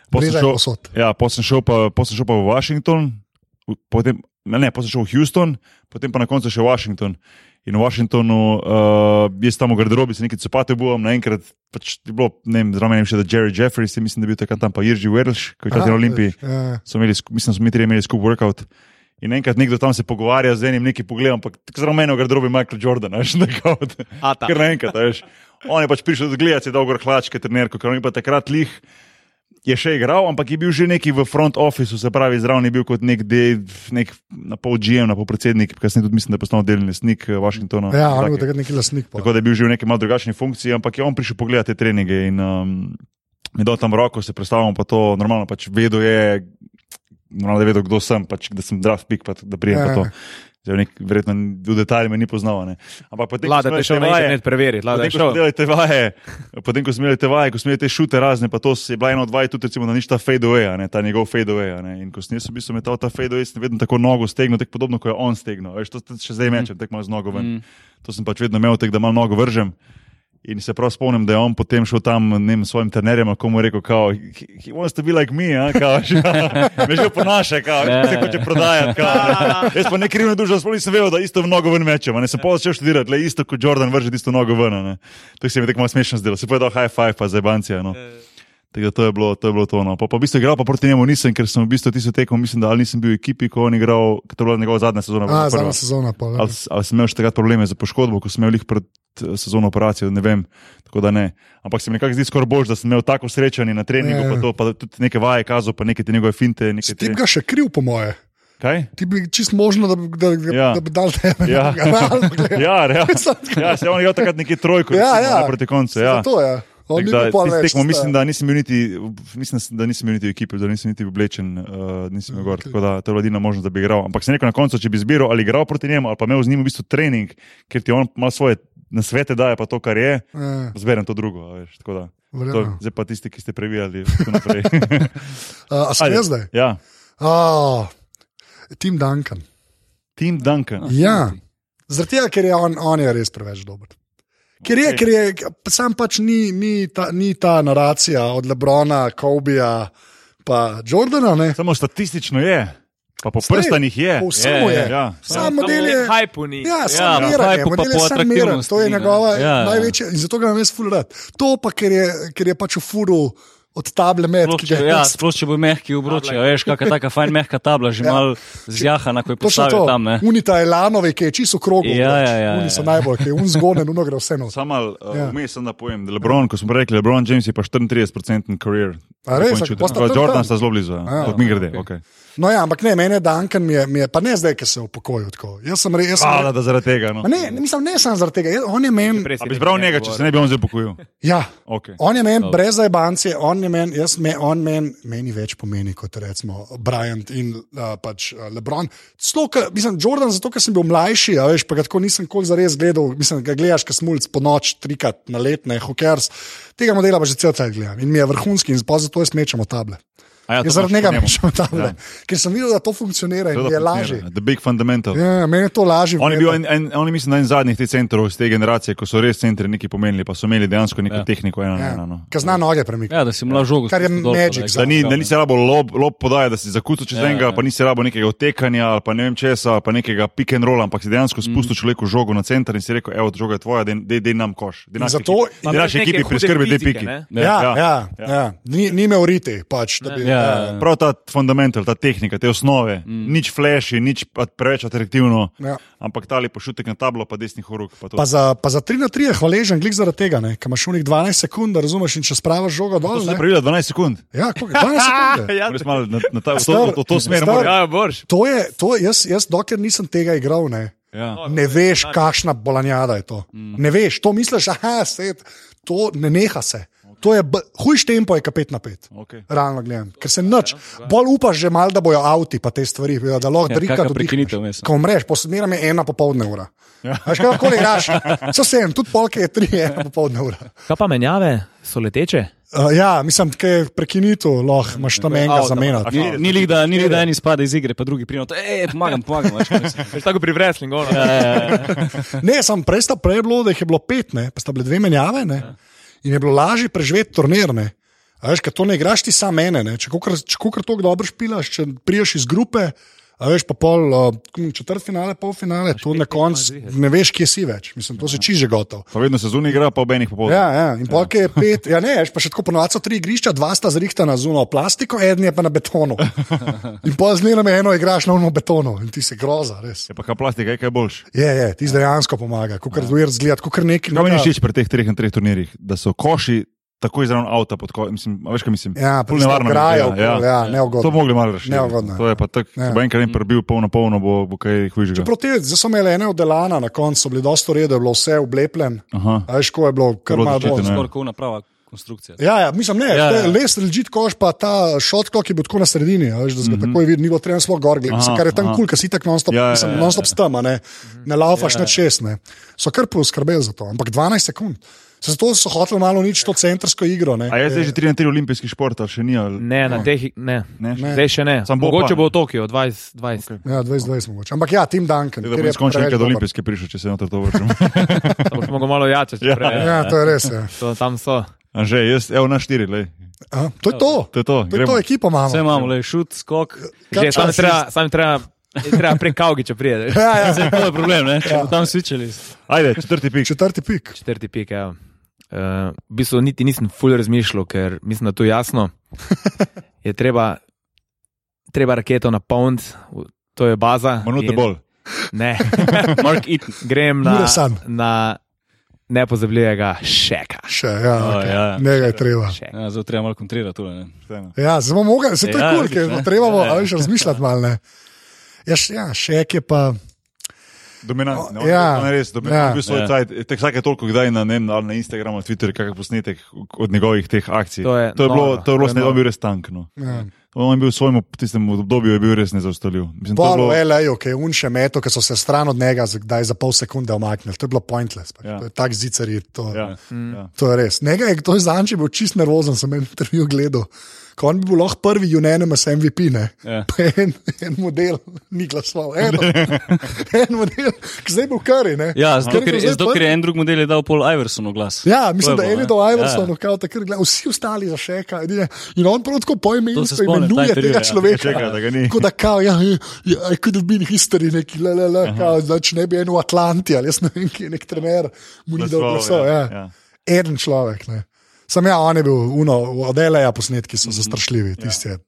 A: Pol sem
B: Breza je
A: šel-
B: povsod.
A: Ja, potem sem šel pa, pol sem šel pa v Washington, v- potem, ne, ne, potem sem šel v Houston, potem pa na koncu še Washington. In v Washingtonu, uh, jaz tam v garderobi se nekaj copate bom, naenkrat, pač je bilo, ne vem, zraven še da Jerry Jeffries, je, mislim, da je bil takrat tam pa Irži Werlš, ko je
B: Aha,
A: tam na Olimpiji
B: Ja.
A: so imeli, sku- mislim, da smo mi trije imeli skupaj workout. In enkrat nekdo tam se pogovarja z enim, neki pogled, ampak tako zelo meni v garderobi Michael Jordan, a veš, nekako.
C: A, ta.
A: Ker naenkrat, a veš. On je pač prišel odgledati, si je dolgo hlačke, trenerko, ker on je pa takrat lih. Je še igral, ampak je bil že neki v front officeu, se pravi, zraven je bil kot nek, de, nek na pol GM, na pol predsednik, kasneje tudi mislim, da je postal delni lastnik eh, Washingtona.
B: Ja, on je bil
A: Kentucky.
B: takrat neki lasnik. pa.
A: Tako da je bil že v neki malo drugačni funkciji, ampak je on prišel pogledati te treninge in um, mi dal tam roko, se predstavljam pa to, normalno pač vedo je, normalno da je vedel, kdo sem, pač, da sem draft pik, pa, da prijem
B: Ja.
A: pa to. Zdaj, nek, verjetno v detajlih me ni poznal. a Ne. Ampak potem, ko
C: Lada,
A: smo imeli
C: te šel
A: te
C: na
A: vaje-
C: internet preveriti. Lada,
A: Potem,
C: je
A: ko smo
C: šel.
A: delali te vaje, potem, ko smo imeli te vaje, ko smo imeli te šute razne, pa to se je bila ena od vaj, tudi recimo, da nič ta fadeaway, a ne, ta njegov fadeaway. a ne. In ko sem jaz v bistvu metal ta fadeaway, sem vedno tako nogo stegnil, tako podobno kot je on stegnil. Veš, to tudi še zdaj mečem, tako malo z nogo ven. Mm. To sem pač vedno imel, tako da malo nogo vržem. In se prav spomnim, da je on potem šel tam ne vem, svojim trenerjem, ko mu je rekel, kao, he, he wants to be like me, a, kao, že, me že ponaša, kao, veš, se hoče prodajati. Kao, ne. jaz pa ne krivno dužo, sploh nisem vedel, da isto nogo ven mečem, a ne sem pa začel študirati, le isto kot Jordan vrže isto nogo ven. a ne. To se mi je tako malo smešno zdelo, se pa je dal high five, pa za bancija. No. Tako da to je bilo to. Je bilo to no. pa, pa v bistvu igral pa proti njemu nisem, ker sem v bistvu tisto tekmo, mislim, da ali nisem bil v ekipi, ko je on igral, ker to je bila njegova zadnja sezona.
B: A,
A: bila prva.
B: zadnja sezona. Pa, ja.
A: Ali, s- ali sem imel še takrat probleme z poškodbo, ko sem imel jih pred eh, sezono operacijo, ne vem. Tako da ne. Ampak se mi nekako zdi skoraj bož, da sem imel tako srečanje na treningu,
B: Ja, ja.
A: pa, to, pa tudi neke vaje kazal, pa neke te njegove finte. Neke
B: Ti bi
A: te,
B: ga še kriv, po moje.
A: kaj?
B: Ti bi čist možno, da bi, da, ja.
A: Ja.
B: da bi dal tebe.
A: Ja.
B: Realno gledano.
A: Ja, ja.
B: Sad-
A: ja se je on je igral takrat neki trojko,
B: Ja,
A: recimo,
B: ja.
A: ne, proti koncu. Ja.
B: Zato je. On ni bil
A: Da,
B: pol
A: tisti
B: več.
A: tekmo, mislim, da nisem bil niti, mislim, da nisem bil niti v ekipi, da nisem niti oblečen, uh, nisem bil gor.
B: Ok.
A: Tako da to je bila edina možnost, da bi igral. Ampak sem rekel na koncu, če bi izbiral ali igral proti njemu, ali pa imel z njim v bistvu trening, ker ti on ima svoje nasvete, daje pa to, kar je,
B: Eh,
A: zberem to drugo. a Veš, tako da, to,
B: verjamem.
A: zdaj pa tisti, ki ste previjali. tako naprej.
B: A a sem
A: Ajde.
B: jaz zdaj?
A: ja,
B: Oh, Tim Duncan.
A: Tim Duncan.
B: Ja, zaradi tega, ker je on, on je res preveč dober. Ker je,
A: Ok.
B: ker je sam pač ni, ni, ta, ni ta naracija od Lebrona, Kobija, pa Jordana. Ne?
A: Samo statistično je, pa po
B: Stej,
A: prstih je.
B: po vsemu
A: Ja,
B: je.
A: Ja,
B: Sam model je.
C: Hajpu ni.
B: Ja,
D: Ja,
B: sam ja,
D: pa je
B: miren,
D: pa-
B: pa, model
D: pa po
B: je sam miren, to je
D: atraktivnosti, ne.
B: njegova
D: Ja,
B: ja,
D: ja.
B: največja in zato ga imam jaz ful rad. To pa, ker je, ker je pač v furu od table med,
D: Sploh
B: ki
D: če,
B: ga je
D: ja,
B: jaz
D: sploh če bo mehki obroč, ja, veš, kakšna taka fajn mehka tabla, že ja. malo zjahana, ko je
B: Točno
D: postavil
B: to, Ja,
D: tam. Ne.
B: unita Elanove, ki je čisto krogla.
D: Ja, ja, ja,
B: Oni
D: ja.
B: so najbolj, ki je un zgonen, uno gre vse noč.
A: Sam malo uh,
B: Ja.
A: ja. vmes sem da pojem, da Lebron, ko smo rekli, Lebron James je pa 34-procenten karier.
B: A res?
A: Tako je čudno.
B: Bosta
A: Pa
B: tam tam?
A: Jordan sta zelo blizu,
B: A,
A: ja. kot mi grede. Okay.
B: No, ja, ampak ne, meni je Duncan, mi je, mi je, pa ne zdaj, ker se je upokojil tako. Jaz sem res.
A: Hvala, da zaradi tega. No.
B: Ma Ne, ne, mislim, ne samo zaradi tega. Jaz, on je meni,
C: Prej si
A: A bi
C: nekaj
A: izbral njega, če
C: govoril.
A: se ne bi on zdaj pokojil.
B: ja,
A: Okay.
B: on je meni brez zajbancije, on je meni, jaz me, on meni, meni več pomeni kot recimo Bryant in uh, pač uh, Lebron. Celo, ker- mislim, Jordan, zato ker sem bil mlajši, a veš, pa ga tako nisem kol zares gledal, mislim, ga gledaš, ker smulc po noč, trikrat na let, ne, hokers. Tega modela pa že cel cel gledam in mi je vrhunski in pa zato jaz mečemo table.
A: Ja,
D: pač
B: Jaz zaradi njega mečemo table, ker sem videl, da to funkcionira in mi je lažje.
A: The big fundamental.
B: Ja, ja, meni je to lažje.
A: On je bil
B: gledati.
A: en, en, on je, mislim, da en zadnjih teh centrov iz te generacije, ko so res centri neki pomenili, pa so imeli dejansko neko ja. tehniko. Ena, ja. ena, no.
B: Ki zna noge premikati.
D: Ja, da si mlad žogo.
B: Kar je
D: spustil dol, pa
B: magic
D: da-
A: Da,
B: za-
A: ni, da nisi rabo lob, lob podaje, da si zakucal čez ja, enega, ja. pa nisi rabo nekega otekanja ali pa ne vem česa, ali pa nekega pick and roll, ampak si dejansko spustil mm. človeku žogo na center in si rekel, evo, žoga je tvoja, dej, dej nam koš. Dej naši
B: Zato-
A: ekipi-
C: Pa
A: dej naši
C: neke
A: ekipi
C: hude
A: priskrbi dve
C: fizike,
A: piki.
C: ne?
B: Ja, ja, ja, ja. ja. Ni, ni imel riti. Pač, da bi,
D: Ja,
B: ja.
D: ja.
A: Prav ta fundamental, ta tehnika, te osnove, mm. nič flashy, nič pa preveč atraktivno,
B: Ja.
A: ja. ampak ta lepo šutek na tablo, pa desni horuk. Pa to.
B: Pa za, pa za 3 na 3 je hvaležen, glej zaradi tega, ne, ker imaš unih 12 sekund, da razumeš in če spravaš žogo
A: to
B: dol.
A: se je
B: ne.
A: pravilo 12 sekund.
B: Ja, koliko- 12 sekund. je.
C: Ja,
A: Res malo na, na ta, v,
B: Star-
A: to, v to smer
B: star-
A: mora.
C: Ja, boš.
B: To je, to jaz, jaz dokler nisem tega igral, ne,
A: Ja.
B: ne veš, kakšna bolanjada je to. Ne veš, to misliš, aha, svet, to ne neha se. To je b- hujš tempo, je ka 5 na 5.
A: Okay.
B: Realno gledam, ker se nič, bolj upaš že mal, da bojo avti pa te stvari, da lahko
D: Ja,
B: drika
D: kaka
B: do
D: prekinitev vmes.
B: Ko umreš, posodmiram je ena popovdne ura. Ja. Veš, kaj lahko igraš, so sem, tudi polke je tri, ena popovdne ura.
C: Kaj pa menjave so leteče?
B: Uh, ja, mislim, da je prekinitev, lahko imaš tam enega
C: Avta,
B: zamenjati.
D: Ni, ni lih, da, ni lih, da en izpade iz igre, pa drugi prinato. Ej, pomagam, pomagam. Več,
C: Veš tako pri wrestlingu. ono. ja.
B: No. Ne, sem prej sta prej bilo, da jih je bilo pet, ne, pa sta bile dve menjave ne, in je bilo lažje preživeti turnirne. A veš, ker to ne igraš ti sam ene, ne. če kukar to dobro špilaš, če priješ iz grupe, a veš pa pol uh, četrt finale, pol finale, to na koncu ne veš, kje si več, mislim, to si čiže gotov.
A: Pa vedno se zunaj igra, pa ob enih popoldne.
B: Ja, ja. in polk je pet, ja ne, veš, pa še tako ponovadi so tri igrišča, dva sta zrihtana z uno plastiko, eden je pa na betonu. In pol z njim eno igraš na uno betonu in ti se groza, res.
A: Je pa kaj plastika, je kaj boljš.
B: Je, je, ti zdaj dejansko pomaga, kot
A: Ja.
B: kar zgledaj, zgled, kot kar neki
A: Kaj meni všeč pri teh treh in treh turnirjih, da so koši tako izravn avta pod košem. Mislim, a veš, kaj mislim?
B: Ja,
A: Ful
B: nevarno. Grajo,
A: mi je,
B: ja, ja,
A: To
B: neugodno.
A: bi mogli malo rešiti.
B: Neugodno je.
A: To je pa tako,
B: Ja.
A: če bo enkrat en prebil polno, polno bo, bo kaj hujšega.
B: Proti, zdaj so imeli ene oddelana, na koncu so bili dosto redo, je bilo vse oblepljen,
A: Aha.
B: a veš, ko je bilo kar
A: Bilo
B: malo
A: zaščiteno,
B: bolj.
A: ja.
D: Skoraj kot prava konstrukcija.
B: Ja, ja, mislim, ne,
D: Ja,
B: ja,
D: ja.
B: ja. les ležit koš, pa ta šotko, ki bo tako na sredini, a veš, da se ga mm -hmm. takoj vidi, ni bilo treba sploh gor gledati, mislim,
A: Mhm. Aha,
B: kar je tam
A: aha.
B: kul, ker si tako non-stop,
A: Ja,
B: ja,
A: ja,
B: mislim,
A: ja,
B: non-stop stama, ne, ne laufaš ja, na čest, ne. So kar poskrbeli za to, ampak 12 sekund. Se zato so hoteli malo nič to centrsko igro, ne.
A: A je zdaj že 3 na 3 olimpijski šport, ali še ni? Ali,
C: Ne, na teh ne.
A: No. ne?
B: Ne.
C: Zdaj še ne.
A: Samo bo
C: Mogoče
A: pa.
C: bo v Tokiu 2020.
B: Ja, 20-20 mogoče. Ampak ja, Tim Duncan.
A: Da
B: ker
A: bi
B: je
A: skončal
B: preveč
A: enkrat
B: dober.
A: olimpijske prišel, če se na to vrčem.
C: Okay. Boš mogel malo jačati.
A: Ja.
C: Ja.
B: Ja, to je res. Ja.
C: To, tam so.
A: Anže, jaz, evo na 4, lej.
B: A, to je to.
A: To je to,
B: To je to
A: gremo.
B: ekipo
D: Vse
B: imamo. Ja,
D: imamo, le šut, skok.
C: Že, sam,
B: čas je?
C: treba, sam treba, treba prek Kavgiča prije.
B: Ja, ja.
D: To je problem, ne? Če bomo tam svičali.
A: Ajde, četrti pik.
B: Četrti pik.
C: Četrti pik, ja. Uh, v bistvu niti nisem ful razmišljal, ker mislim, da je to jasno. Je treba, treba raketo napolniti, v- to je baza.
A: Minute
C: in-
A: bolj.
C: Ne,
D: Mark Eaton.
C: grem na,
B: Muresan.
C: na nepozabljivega šeka.
B: Še, ja,
D: O,
B: okay.
D: ja.
B: Ne, ga je treba.
C: šeka.
D: Ja, zdaj treba malo kontrirati. tole, ne.
B: Ja, zelo mogoče, se to je
D: Ja,
B: kul,
D: vidiš,
B: ker
D: ne.
B: treba bo,
D: Ja, ja.
B: a veš, razmišljati malo. ne. Ja, še, ja, še je pa.
A: Dominantno,
B: O, ja.
A: ja. ne res,
B: Ja.
A: dominantno.
D: Ja.
A: Ja. Vsake toliko kdaj na, ne, vem, ali na Instagramu, Twitterju, kakšen posnetek od njegovih teh akcij.
C: To je
A: to je bilo,
C: noro,
A: to je bilo,
C: to je
A: to je
C: noro.
A: bil res tank. No.
B: Ja.
A: On je bil v svojem tistem obdobju je bil res nezaustavljiv. Mislim, to je
B: Pol
A: bilo-
B: v LA-ju, ki je un še meto, ki so se stran od njega za- kdaj za pol sekunde omaknili. To je bilo pointless. Pač.
A: Ja.
B: Ja. Tak zicer je to.
A: Ja,
B: Ja.
C: Mm.
A: ja.
B: To je res. Nekaj je, kdo je zanj bil čist nervozen, sem en intervju gledal. Ko on bi bil lahko prvi unanimous MVP, ne?
D: Ja.
B: Pa en, en model, ni glasoval, eno. en model, ki zdaj bo kari. Ne?
D: Ja, zato,
B: Curry
D: ker,
B: je bil zdaj
D: zato, ker
B: prvi.
D: je en drug model je dal Paul Iversonu glas.
B: Ja, mislim,
D: To
B: da
D: je
B: je
D: bilo,
B: Edo
D: ne?
B: Iverson,
D: Ja.
B: ja. takrat, gleda, vsi ostali za še kaj. edine- In on prav tako po imenu
D: To se spomnim, ta
B: imenuje
D: intervju,
B: tega
D: ja.
B: človeka.
A: Čega, da ga ni.
B: Tako da, kao, ja, ja, ja, I could have been history, neki, la, la, la, kao, znači ne bi en v Atlanti, ali jaz ne vem, kje je nek trener, mu ni dal
A: Glasoval,
B: glasov.
A: ja,
B: Ja.
A: ja.
B: Eden človek. Ne. Sam ja, on je bil, uno, odeleja posnetki
D: Mhm.
B: so
D: Ja.
B: zastrašljivi, tisti. je.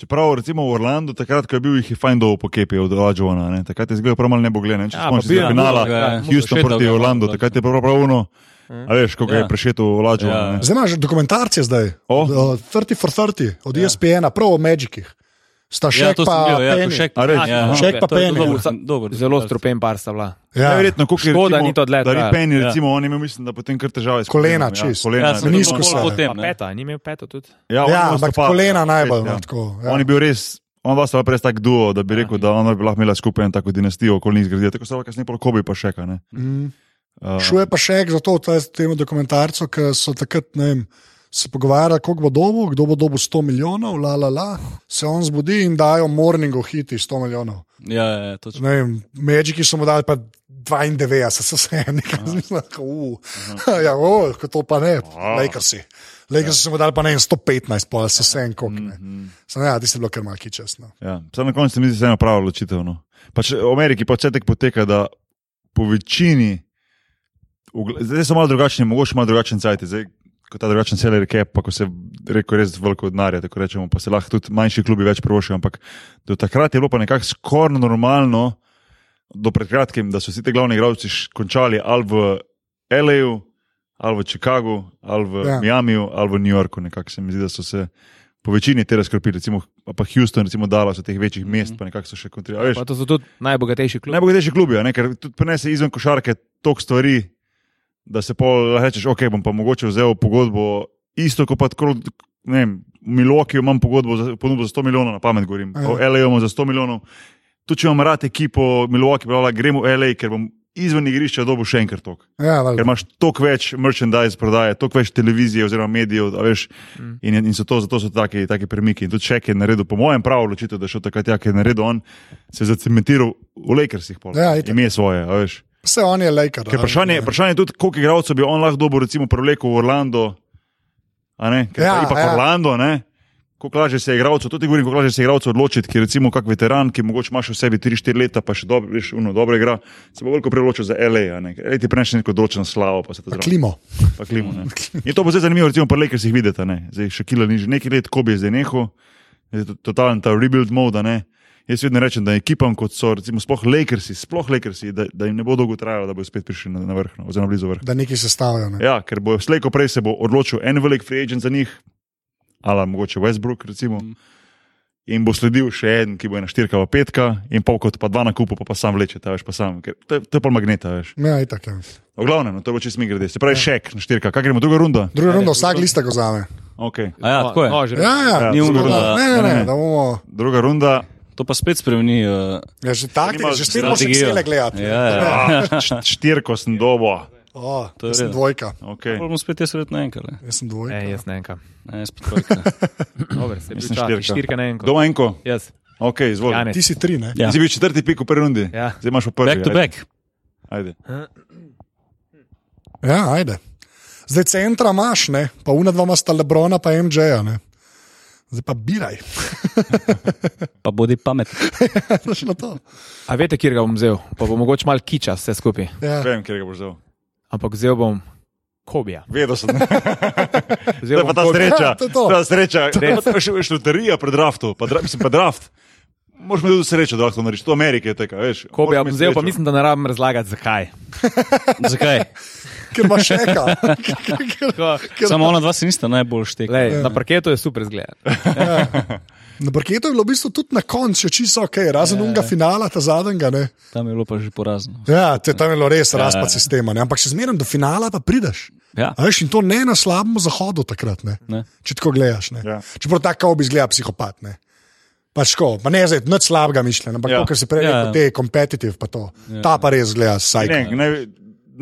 A: Čeprav recimo v Orlandu, takrat, ko je bil, jih je fajn dol po kepi od Lažovana, ne? takrat je zgolj prav malo nebogljen. Če
C: Ja,
A: spomniš se
C: pa bil je
A: finala,
D: na drugega, ja.
A: Houston
D: Šetal ga
A: proti
D: je
A: Orlandu,
D: malo,
A: takrat je prav prav uno,
C: Mm.
A: a veš, kako
D: Ja.
A: je prešeto v
D: Ja.
A: Lažovana.
B: Zdaj imaš dokumentarce zdaj,
A: O.
B: od, od 30 for 30, od ja. ESPN-a, prav o Magicih. Sta še
D: Ja, to sem
B: pa.
D: gledal, ja, to
B: Penny.
D: Shaq
A: A res?
D: Penny, ja.
A: Aha.
B: Shaq pa
D: To je
B: Penny,
D: dober-
B: ja.
D: dober-
C: Zelo strupen par sta bila.
B: ja.
A: Verjetno, kako je
C: Škoda,
A: recimo
C: ni to dlje
A: Dari
C: trajalo.
A: Penny,
D: Ja.
A: recimo, on je imel, mislim, da potem kar težave s kolenom,
B: Kolena,
A: Ja,
B: čist.
A: kolena,
D: Ja, sem
A: ne.
B: nizko
D: to
B: se.
D: malo potem,
C: Pa
D: ne.
C: peta, ni imel peta tudi.
A: Ja, on je
B: Ja,
A: imel
B: ampak
A: stopala,
B: kolena najbolj.
A: ja.
B: no, tako, ja.
A: On je bil res, on vas je res tak duo, da bi rekel, da ona bi lahko imela skupaj eno tako dinastijo, okolni zgradila. Tako se lahko kasneje pol Kobe pa še kaj. ne.
B: Mm.
A: Uh,
B: Šlo je pa še k zato, to je temu dokumentarcu, ki so takrat, ne vem, se pogovarjali, koliko bo dobil, kdo bo dobil 100 milijonov, la la la. Se on zbudi in dajo morningu hiti 100 milijonov.
D: Ja, ja, ja, točno.
B: Ne vem, Magiki so mu dali pa 92, se vse je nekaj zmislil, uh. ja, o, kot to pa ne, Lakersi. Lakersi so mu dali pa ne vem, 115, pa se vse en kok.
A: Mhm.
B: Sem ja, ti si bilo kar no. malki časno.
A: Ja, Sam na koncu se mi zdi, da je ena prava odločitev. No. Pač v Ameriki pač vse tako poteka, da po večini, ugl- zdaj so malo drugačni, mogoče malo drugačen cajt. Zdaj, ko ta drugačen seller cap, pa ko se reko res veliko denarja, tako rečemo, pa se lahko tudi manjši klubi več prošijo. Ampak do takrat je bilo pa nekako skoraj normalno, do pred kratkim, da so vsi ti glavni igralci š- končali ali v L.A.U., ali v Chicagu, ali v
B: Ja.
A: ja. Miamiju, ali v New Yorku. Nekako se mi zdi, da so se po večini te razkropili, recimo a pa Houston, recimo Dallas, od teh večjih mm -hmm. mest, pa nekako so še kontrirali.
C: Pa to so tudi najbogatejši klubi.
A: Najbogatejši klubi, a ne, ker tudi prenese izven košarke toliko stvari, da se pol lahko rečeš, ok, bom pa mogoče vzel pogodbo isto kot pa tako. Ne vem, v Milokiju imam pogodbo za, ponudbo za 100 milijonov, na pamet govorim,
B: Ja.
A: v L.A. imam za 100 milijonov. Tu če imam rad ekipo, Milwaukee, bla, bla, grem v L.A., ker bom izven igrišča dobil še enkrat tok.
B: Ja,
A: Ker
B: valjda.
A: imaš toliko več merchandise prodaje, toliko več televizije oziroma medijev, a veš, in, in so to, zato so taki, taki premiki. In tudi še je naredil, po mojem, pravo odločitev, da je šel takrat, ja, ki je naredil on, se je zacementiral v Lakersih. Pol,
B: Ja, itak. Ja.
A: ime svoje, a veš.
B: Vse on je Laker.
A: Ker
B: a-
A: vprašanje, vprašanje je tudi, koliko igralcev bi on lahko dobil, recimo, prevleko v Orlando, a ne, ker
B: Ja,
A: ja, pa
B: ja.
A: ja. Orlando, ne. Kako lažje se je igralcev, tudi govorim, kako lažje se je igralcev odločiti, ker recimo kak veteran, ki mogoče imaš v sebi 3-4 leta, pa še dobro, veš, uno, dobro igra, se bo veliko preločil za LA, a ne. LA ti prenese neko določeno slavo, pa se te zraven
B: Klimo.
A: pa klimo. ne. In to bo zdaj zanimivo, recimo, pri Lakersih videti, a ne. zdaj še kila ni že nekaj let, ko bi zdaj nehal, zdaj je to- totalen ta rebuild mode. a ne. Jaz vedno rečem, da ekipam, kot so recimo sploh Lakersi, sploh Lakersi, da, da jim ne bo dolgo trajalo, da bodo spet prišli na, na vrh, no, oziroma blizu vrha.
B: da neki sestavljajo. Ne?
A: Ja, ker bo slejko prej se bo odločil en velik free agent za njih, ali mogoče Westbrook, recimo. In bo sledil še en, ki bo ena štirka, pa petka, in pol kot pa dva na kupu, pa, pa sam vleče, ta veš, pa sam. Ker to, je- to je pa magneta, veš.
B: Ja, itak, ja.
A: V glavnem, no, to bo čist mi grede. Se pravi, še en štirka, kaj gremo, druga runda.
B: Ja, Druga runda, vsak lista ga vzame.
A: Okay.
D: A ja, tako je.
C: No, že
B: Ja, ja,
A: Ni
D: umrl,
B: da,
D: da-
B: ne, ne,
A: ne,
B: ne,
A: ne.
B: da bomo.
A: Druga runda.
D: To pa spet spremeni. Uh,
B: Ja, že
A: Zanima-
B: tako, že spet moraš vse gledati.
D: Ja, ja.
A: Ah, št- Štirko sem dobo.
B: O,
D: je
B: jaz sem
D: res.
B: dvojka.
A: Okay.
D: Pravno spet jaz verjetno enkrat. ne.
B: Jaz sem dvojka.
C: E, jaz ne enka.
D: Ne, jaz pa trojka.
C: Dober, se
A: Mislim,
C: piča,
A: štirka.
C: štirka na enko.
A: Doma enko,
C: Jaz.
A: ok, izvoli.
C: Janez.
B: Ti si tri, ne?
D: Ja.
A: Si bil četrti pik v prvi rundi,
C: Ja.
A: zdaj imaš v prvi.
D: Back to
A: ajde.
D: back.
A: Ajde.
B: Ja, ajde. Zdaj centra imaš, ne? pa una dva sta Lebrona, pa MJ-ja. ne. Zdaj pa biraj.
D: Pa bodi pamet.
B: Točno to.
C: A veste, kjer ga bom vzel? Pa bo mogoče malo kiča vse skupaj.
B: Ja.
A: Vem, kjer ga boš dal.
C: Ampak vzel bom Kobija.
A: Vedel sem. To
C: Vzel
A: je pa
C: bom
A: ta
C: Kobija.
A: sreča.
B: Ja, to je to.
A: Ta sreča. Še loterija pred draftom, pa, dra, mislim, pa draft. Moš mi tudi srečo, da lahko to narediš. To Amerike je teka, veš.
C: Kobija
A: Moraš
C: bom
A: imeti
C: vzel, pa
A: srečo.
C: mislim, da ne rabim razlagati zakaj.
D: Zakaj?
B: Ker imaš še kaj.
D: Samo ona dva se nista najbolj štekla.
C: Lej, na parketu je super zgled.
B: Na parketu je bilo v bistvu tudi na koncu še čisto ok, razen
D: Ja, ja.
B: unga finala, ta zadnjega. Ne.
D: Tam je bilo pa že porazno.
B: Ja, te, tam je bilo res
D: Ja, ja.
B: razpad sistema, ne. ampak še zmeraj do finala pa prideš.
D: Ja.
B: A Veš, in to ne na slabem zahodu takrat, ne.
D: Ne.
B: če tako gledaš. Ne.
A: Ja.
B: Čeprav ta kao bi izgledal psihopat. Ne. Pač tako, pa ne zdaj, nič slabega mišljenja, ampak
A: Ja.
B: ja. kar se prej
D: Ja,
B: reče,
D: ja.
B: te kompetitiv, pa to. Ja. Ta pa res gleda
A: Ne,
B: sajk.
A: naj,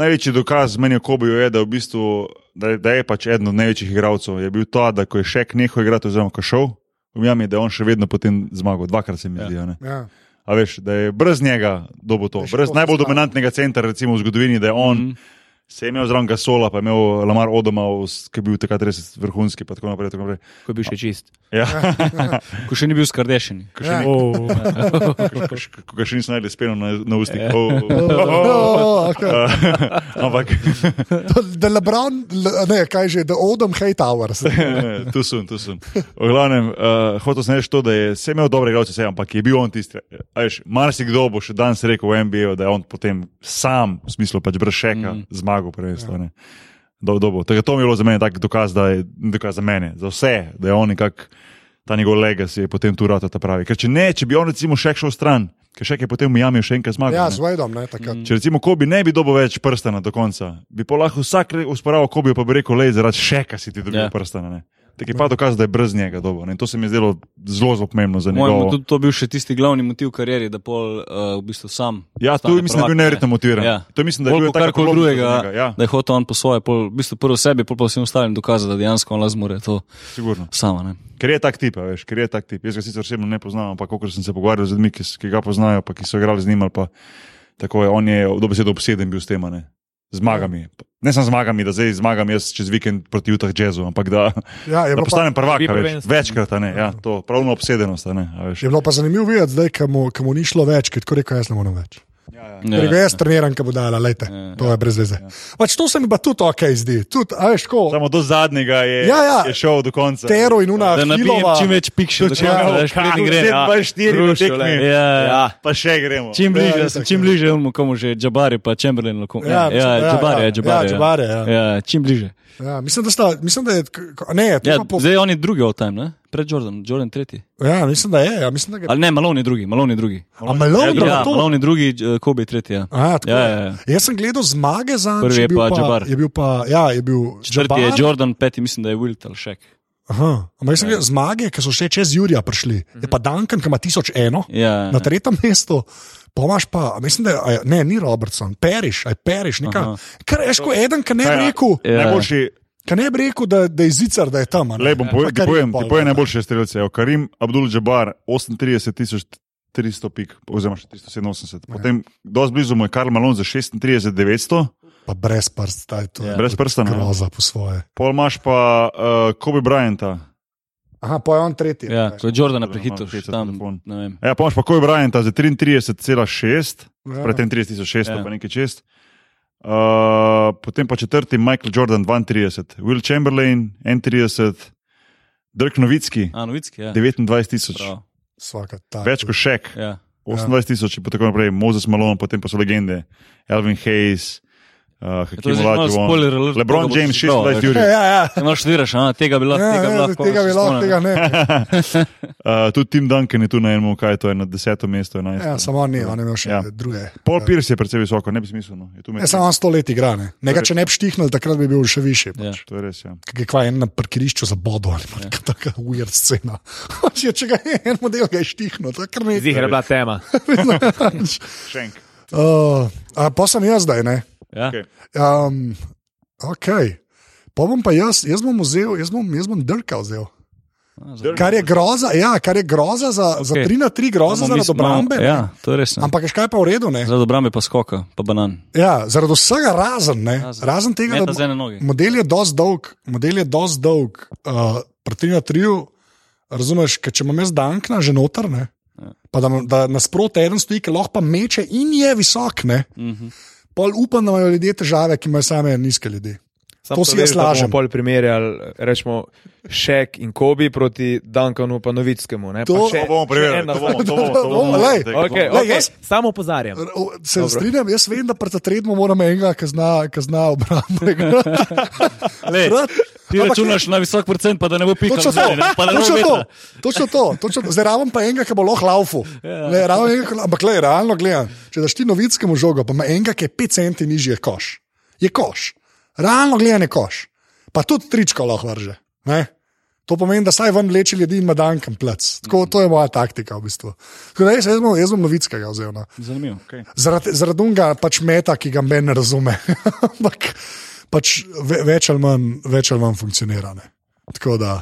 A: največji dokaz meni o Kobiju je, da, v bistvu, da, je- da je pač eden od največjih igralcev. Je bil ta, da ko je še nekaj igral, oziroma ko je šel v Miami, da je on še vedno potem zmagal. Dvakrat se mi
D: Ja.
A: zdi. a ne.
B: Ja.
A: A veš, da je brez njega dobo to.
B: Veš,
A: Brez
B: to se
A: najbolj
B: stane. Mhm.
A: dominantnega centra recimo, v zgodovini, da je on. Mm -hmm. Se je imel zraven Gasola, pa je imel Lamar Odoma, ki je bil takrat res vrhunski. Pa tako naprej, tako naprej.
C: ko bi še čist.
A: Ja.
D: Ko še ni bil skardešen.
B: Ja.
C: Oh.
A: Ko ga še nisem najdel, speno na, na ustih.
B: Ja.
A: Oh, oh,
B: Oh, okay.
A: oh. Ampak
B: Da Lebron, le- ne, kaj že, da Odom Hightower.
A: tu sem, tu sem. V glavnem, uh, hotel sem reči to, da je vse imel dobre igralce, vse, ampak je bil on tisti. a Veš, marsikdo bo še danes rekel v NBA, da je on potem sam, v smislu pač brez šeka, mm. zmagal prvenstvo. Ja. Do, dobo. Tako, to mi je bilo za mene tak dokaz, da je ni dokaz za mene, za vse, da je on nekak ta njegov legacy je potem tu rata ta pravi. Ker če ne, če bi on recimo še šel stran, ker še je potem v Jami še enkrat zmagal.
B: Ja,
A: ne.
B: z Wadeom, ne, takrat.
A: Mhm. Če recimo Kobi ne bi dobil več prstana do konca, bi pa lahko vsak re- usporal Kobi, pa bi rekel, le zaradi še kaj si ti dobil
D: Ja.
A: yeah. prstana. Ne? Tak je pa dokaz, da je brez njega dobil. ne. In to se mi je zdelo zelo, zelo pomembno za
D: Mojemu
A: njega.
D: tudi to bil še tisti glavni motiv kariere, da pol uh, v bistvu sam.
A: Ja, tu
D: postane
A: mislim, da je bil
D: prvak, ne.
A: neverjetno motiviran.
D: Ja.
A: Ja. To mislim, da je
D: Bolj
A: bil
D: kot karkoli drugega,
A: Ja,
D: da je hotel on po svoje, pol, v bistvu prvo sebi, pol pa vsem ostalim dokazati, da dejansko on lahko zmore to
A: sigurno.
D: sama. Ne?
A: Ker je tak tip, a veš, ker je tak tip. Jaz ga sicer osebno ne poznam, ampak koliko sem se pogovarjal z ljudmi, ki, s- ki ga poznajo, pa ki so igrali z njim, ali pa tako je, on je dobesedno obseden bil s tem, a ne. Zmagami. Ne samo zmagami, da zdaj zmagam jaz čez vikend proti Utah Jazzu, ampak da
B: Ja,
A: Da
B: je bilo pa-
A: postanem prvak,
C: Bi
A: a veš,
C: prvenstvo.
A: večkrat, a ne, ja, to pravno obsedenost. a Ne, a veš.
B: Je bilo pa zanimivo videti, zdaj, ko mu, ko mu ni šlo več, ker je tako rekel, jaz ne morem več. Ja, rekel, jaz treniram, ki bo dala, lejte, ja, to je brez veze. Ja. Pač to se mi pa tudi ok zdi, tudi, a veš, ko
A: Samo do zadnjega je,
B: Ja, ja.
A: je šel do konca.
B: tero in una
D: Da nabijem
B: hilova.
D: čim več pikšov,
B: Do
D: da
B: čega?
D: čakam, da špredni gre.
A: Sedem, dva, štiri,
D: Rušil,
A: tekmi.
D: glej. Ja, ja.
A: Pa še gremo.
D: Čim bliže,
B: Ja,
D: ja, sem
B: itak,
D: čim
B: ja.
D: bliže onemu, komu že Džabari, pa Chamberlain. Lahko,
B: Ja,
D: ja, ja,
B: ja,
D: Džabari,
B: ja.
D: ja, Džabari,
B: Ja, Jabari, ja.
D: ja, čim bliže.
B: Ja, mislim, da sta, mislim, da je, k- k- ne, to
D: Ja,
B: pa po,
D: zdaj on je drugi all time, ne? pred Jordanom, Jordan tretji.
B: ja, mislim, da je, ja, mislim, da ga.
D: Ali ne, Malone je drugi, Malone je drugi.
B: A Malone,
A: Ja,
B: ja,
D: Ja,
B: to.
D: Malone je drugi, eh, Kobe je tretji. Ja.
B: A, tako
D: Ja,
B: je.
D: ja, ja.
B: Jaz sem gledal zmage za
D: Prvi je pa Jabbar.
B: Je bil pa, ja, je bil
D: Četrti je
B: Jabbar.
D: Jordan, Ja, peti mislim, da je Wilt ali Shaq.
B: Aha, ampak jaz sem gledal zmage, ki so še čez Jurija prišli. Je pa Duncan, ki ima 1001
D: Mhm. Ja,
B: na tretjem mestu. Pomaž pa, a mislim, da je, a je- ne, ni Robertson, Periš, aj Periš, nekaj.
D: Aha.
B: Ker je ško eden, ki ne bi
A: Ja.
B: rekel,
D: Ja.
A: Najboljši,
B: ki ne bi rekel, da, da je zicar, da je tam. a ne. Ja,
A: le bom povedal,
B: Pa Karim pol,
A: ti pojem
B: ne.
A: najboljše strelce. Evo, Karim Abdul-Jabbar, 38 tisoč 300 pik, oziroma še
B: Ja.
A: 387. Potem, dosti blizu mu je Karl Malone za 36 900,
B: Pa brez prst, da je to.
A: brez
D: no.
A: prstana. ja.
B: Groza po svoje.
A: Pol imaš pa uh, Kobe Bryanta.
B: Aha, pa je on tretji.
D: ja, ko je Jordana
A: Imam
D: prehitil, še
A: hecen
D: tam.
A: telefon.
D: ne vem.
A: Ja, pa imaš pa Kobe Bryanta za 33,6.
B: Ja.
A: predtem 30.600,
D: Ja.
A: ja. pa nekaj čest. Uh, potem pa četrti Michael Jordan 32, Will Chamberlain 31, Dirk Novitski
D: A, Novicki, ja.
A: 29.000,
D: Prav,
B: Vsaka ta.
A: več kot Šek
D: ja.
A: 28.000 in tako naprej, Mozes Malone, potem pa so legende, Elvin Hayes, uh,
D: Ja, To
A: Hakim
D: je že malo spoiler
A: Olajuwon,
D: alert,
A: LeBron
D: koga boš
A: James
D: izbral, veš.
A: 26 Juri.
B: Ja, ja, ja.
D: Malo študiraš, a, tega bi lahko,
B: Ja,
D: tega bi
B: ja,
D: lahko.
B: tega bi
D: se
B: lahko,
D: spomnim.
B: tega ne.
A: Uh, tudi Tim Duncan je tu na enem, kaj je to, je na desetem mestu,
B: Ja,
A: 11.
B: samo on ni, on je imel še ja.
A: Ja.
B: druge.
A: Paul Pierce je precej visoko, ne bi smiselno. Je tu med-
B: Ne, Ja, samo on sto let igra. Ne. Nekaj, če ne bi štihnil, takrat bi bil še više.
D: Ja.
B: Pač.
A: To je res, ja.
B: Kaj je kva en na parkirišču za bodo ali pa neka taka weird scena. Če če ga je en model, ga je štihnil, to je kar nekaj.
C: Zihar je bila tema.
A: Šenk.
B: Uh, a pa sem jaz zdaj, ne.
D: Ja.
A: Okej.
B: Um, ok. Pa bom pa jaz, jaz bom vzel, jaz bom, jaz bom drkal vzel.
D: A, za-
A: Dirk
B: Kar je groza, ja, kar je groza za, okay. za
D: Okej.
B: 3 na 3 groza
D: Imamo
B: za
D: mi-
B: obrambe. ne.
D: imamo- Ja, to je res. ne.
B: Ampak veš, kaj je pa v redu, ne?
D: Zaradi obrambe pa skoka, pa banan.
B: Ja, zaradi vsega razen, ne?
D: Razen.
B: razen tega,
D: Ja, Meta z
B: da
D: ene noge.
B: model je dosti dolg, model je dosti dolg, uh, proti na triju, razumeš, ker če imam jaz dankna že noter, ne?
D: Ja.
B: Pa da, imam- da nasproti en stoji, ki lahko pa meče in je visok, ne?
D: Mhm.
B: Pol upam, da imajo ljudje težave, ki imajo same nizke ljudi.
C: Sam
B: To si jaz lažem.
C: Pol primerjali, rečemo, Šek in Kobi proti Duncanu pa Novickemu. Ne?
B: To-
C: pa še,
A: To bomo preverili,
C: še ena
A: to bomo, to bomo, to
B: Bomo,
A: bomo.
B: lej.
C: Okay,
B: Lej,
C: okay.
B: jaz-
C: Samo opozarjam.
B: R- o, Se Dobro.
C: Dobro.
B: strinjam, jaz vem, da pred tretmo moram enega, ki zna, ki zna obrambo igrati.
D: Lej, Ti
B: Ampak-
D: računaš na visok procent, pa da ne bo pikal.
B: Točno to,
D: zdaj, ne, pa da ne bo
B: točno
D: vetra.
B: to, točno to, točno to. Zdaj raven pa enega, ki bo lahko laufu.
D: Ja.
B: Ampak le, realno gledam, če daš ti novickemu žogo, pa ima enega, ki je 5 centi nižji, je koš. Je koš. Realno gledam je koš. Pa tudi tričko lahko vrže. Ne? To pomeni, da saj ven leči ljudi in ima dankem plec. Tako, to je moja taktika v bistvu. Tako da Jaz, jaz, bom, jaz bom novickega vzel. No.
D: Zanimivo. Okay.
B: Zaradi zaradi unga pač meta, ki ga meni ne razume. Ampak pač ve, več ali manj, več ali manj funkcionira. Ne. Tako da.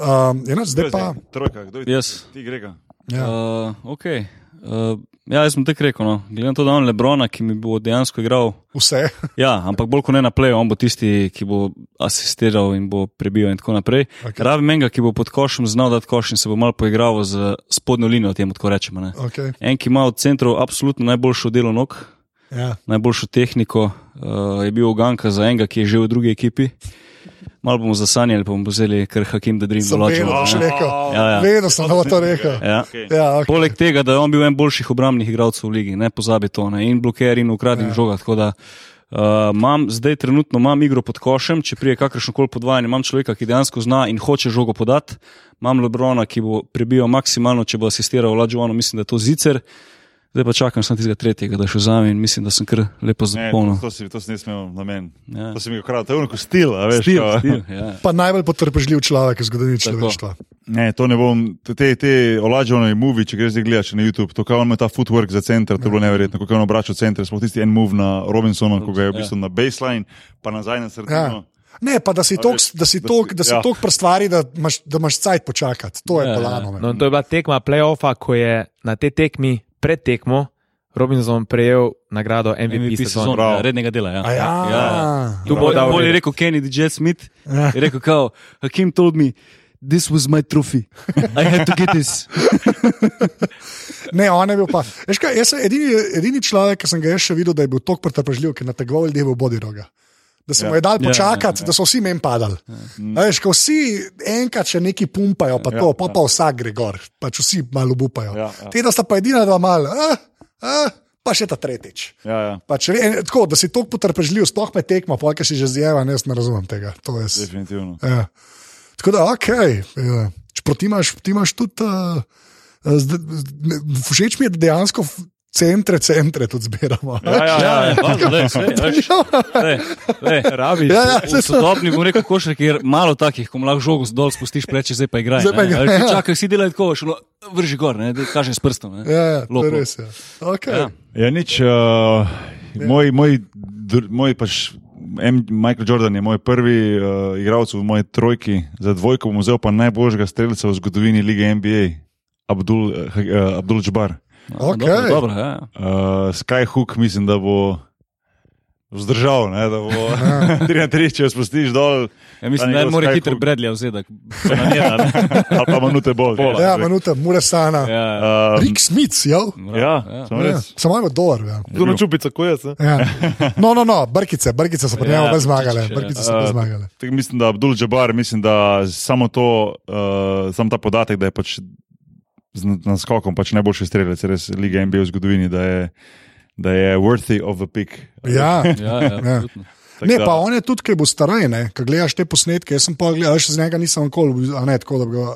B: Um, eno, zdaj pa.
A: Trojka, kdo je
D: Jaz.
A: Ti grega.
B: Ja.
D: Uh, okay. uh, ja, jaz sem tek rekel, no. glede na to, da je on Lebrona, ki mi bo dejansko igral.
B: Vse.
D: Ja, ampak bolj kot ne na pleju, on bo tisti, ki bo asistiral in bo prebil in tako naprej.
B: Okej.
D: Okay. Rabi menga, ki bo pod košem znal dati koš in se bo malo poigral z spodnjo linijo, temu tako rečemo. Ne.
B: Okay.
D: En, ki ima od centrov absolutno najboljšo delo nog,
B: Ja.
D: najboljšo tehniko, uh, je bil Oganka za enega, ki je že v drugi ekipi. Malo bomo zasanjali, pa bomo vzeli kar Hakim, da Dream
B: Sem vedel, da boš
D: določimo.
B: rekel.
D: Ja, ja.
B: Vedel sem, da bo to rekel.
D: Ja.
A: Okay.
B: Ja, okay.
D: Poleg tega, da je on bil en boljših obrambnih igralcev v ligi, ne pozabi to, ne? in bloker in ukradni ja. žoga. tako Da, uh, imam, zdaj trenutno imam igro pod košem, če prije kakršno koli podvajanje, imam človeka, ki dejansko zna in hoče žogo podati, imam Lebrona, ki bo prebijal maksimalno, če bo asistiral Lađovano, mislim, da je to zicer. Zdaj pa čakam samo tistega tretjega, da še vzamem in mislim, da sem kar
A: Ne,
D: lepo
A: to,
D: zapolnil.
A: to, si, to si nisem imel na meni.
D: Ja.
A: To si mi ukradel, to je unko stil, a veš.
D: Stil,
A: kao.
D: stil, ja.
B: Pa najbolj potrpežljiv človek v zgodovini človeštva.
A: Ne, to ne bom, te, te olažene muvi, če greš zdaj gledati na YouTube, to kako on ima ta footwork za center, to je bilo
B: Ja.
A: neverjetno, kako je on obračal center, smo tisti en move na Robinsona, ko ga je v
D: ja.
A: bistvu na baseline, pa nazaj na
B: Ja.
A: srce.
B: Ne, pa da si tok,
A: veš,
B: da si
A: da
B: tok,
A: si-
B: da si
A: ja.
B: tok prstvari, da imaš, da imaš cajt počakati. To je
D: Ja, ja.
B: polano. me.
C: No, in to je bila tekma playoffa, ko je na tej tekmi, pred tekmo, Robinson prejel nagrado MVP,
D: MVP
C: MVP
D: sezon,
C: sezone.
A: Prav.
D: ja, rednega dela. Ja.
B: A ja.
D: Tu
C: Tu
D: bo
C: bo dal
D: bolje
C: red.
D: rekel Kennedy J. Smith.
B: Ja.
D: Je rekel, kao, Hakim told me, this was my trophy. I had to get this.
B: Ne, on je bil pa. Veš Kaj, jaz sem edini, edini človek, ki sem ga jaz še videl, da je bil tako pretrpežljiv, ki je nategoval ljudi v bodiroga. Da se
A: Ja.
B: mu je dal
D: Ja,
B: počakati,
D: ja, ja.
B: da so vsi meni padali. Ja. Veš, ko vsi enkrat še neki pumpajo, pa to,
A: Ja,
B: pa, pa vsak gre gor, pač vsi malo upajo.
A: Ja, ja.
B: Te, da sta pa edina dva mal, eh, eh, pa še ta tretjič.
A: Ja, ja,
B: Pač, re- en- tako, da si tako potrpežljiv, sploh me tekma, pa kaj si že zjeva, jaz ne razumem tega. To jaz-
A: definitivno.
B: Ja. Tako da, ok. Ja. Čeprav ti imaš, ti imaš tudi. Uh, zd, ne, všeč mi je, da dejansko f- centre, centre tudi zbiramo.
D: Ja, ja, ja, ja, važno, lej, sej, veš, lej, lej.
C: Rabi,
B: Ja, ja,
D: V sodobni, bom rekel, košar, kjer malo takih, ko mu lahko žogo dol spustiš, reče zdaj pa igraj.
B: Zdaj pa
D: ne.
B: igraj,
D: A veš,
B: ja.
D: Čakaj, vsi delajo tako, šlo, vrži gor, ne, da kažeš s prstom. Ne.
B: ja, ja, to
D: Lop,
B: je
D: lop.
B: res. Ja. Okay.
D: Ja.
B: Ja.
A: Ja, nič, uh, moj, moj, dr- moj pač, M, Michael Jordan je moj prvi uh, igralec v moji trojki, za dvojko bom vzel pa najboljšega strelca v zgodovini lige NBA, Abdul, uh, uh, Abdul Jabbar.
D: A,
B: Okej.
D: Dobro, dobro, ja, ja.
A: Uh, Skyhook mislim, da bo vzdržal, ne, da bo 3 na 3, če jo spustiš dol,
D: ja
A: Ta
D: mislim, da
A: njegov
D: mora
A: Skyhook.
D: hitro bredlja vzeti, da Ja, planira. Ne.
A: ali pa minute bolj.
D: Pola.
B: Ja, minuta, Muresana, ja.
D: Ja, ja.
A: Uh,
B: Rick Smith, jo?
A: ja, sem
B: ja.
A: res.
B: samo eno dolar. Ja.
A: Kdo na
C: čupica, ko jaz.
B: Ja. No, no, no, brkice, brkice so pri
D: Ja,
B: njemu ja, zmagale.
D: brkiče, ja.
B: Brkice so pa
A: Eh,
B: zmagale.
A: Tako Mislim, da Abdul Jabbar, mislim, da samo to, uh, sam ta podatek, da je pač z n- naskokom pač najboljši strelec res lige NBA v zgodovini, da je, da je worthy of the pick.
B: Ja.
D: Ja, ja, absolutno.
A: Tako
B: Ne,
A: da-
B: pa on je tudi, ki bo starej, ne, ko gledaš te posnetke. Jaz sem pa gledal, še z njega nisem nikoli, a ne tako, da bi ga.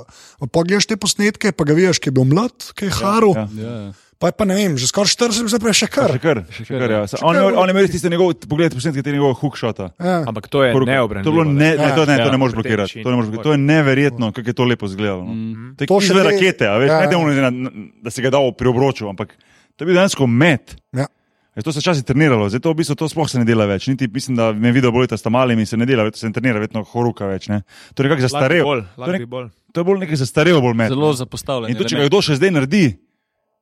B: Pa gledaš te posnetke, pa ga vidiš, ki je bil mlad, ki je haru, ja,
A: ja.
B: ja.
D: ja, ja.
B: pa je pa ne vem, že skoraj 40, zdaj pa je še kar.
A: Še kar, še kar, ja. Sa- On je, on je imel tiste njegove, pogled, posnetke tega njegovega hookshota.
B: Ja.
C: Ampak to je
A: Koliko- To,
C: neobranljivo.
A: je bilo ne, ne, to, ne,
C: Ja,
A: to ne moreš
C: pri tej
A: blokirati.
C: večini.
A: To, ne moreš blokirati. to je neverjetno, kako je to lepo izgledalo. No. To je
B: Ja. To
A: to
B: še
A: še
B: te-
A: rakete, a veš,
B: Ja,
A: ja. ne
B: ja.
A: da mu je na- na- da si ga dal pri obroču, ampak to je bil dejansko met.
B: Ja.
A: E, to se včasih treniralo, zdaj to, v bistvu, to sploh se ne dela več. Niti, mislim, da me video bolita sta malimi, se ne dela, več, se ne trenira, vedno horuka več. Ne? To je nekako zastarel.
C: Bolj,
A: To je, nek,
C: bolj.
A: to je bolj nekaj zastarel, bolj met.
D: Zelo zapostavljen.
A: In tudi, če ga
D: element.
A: kdo še zdaj naredi,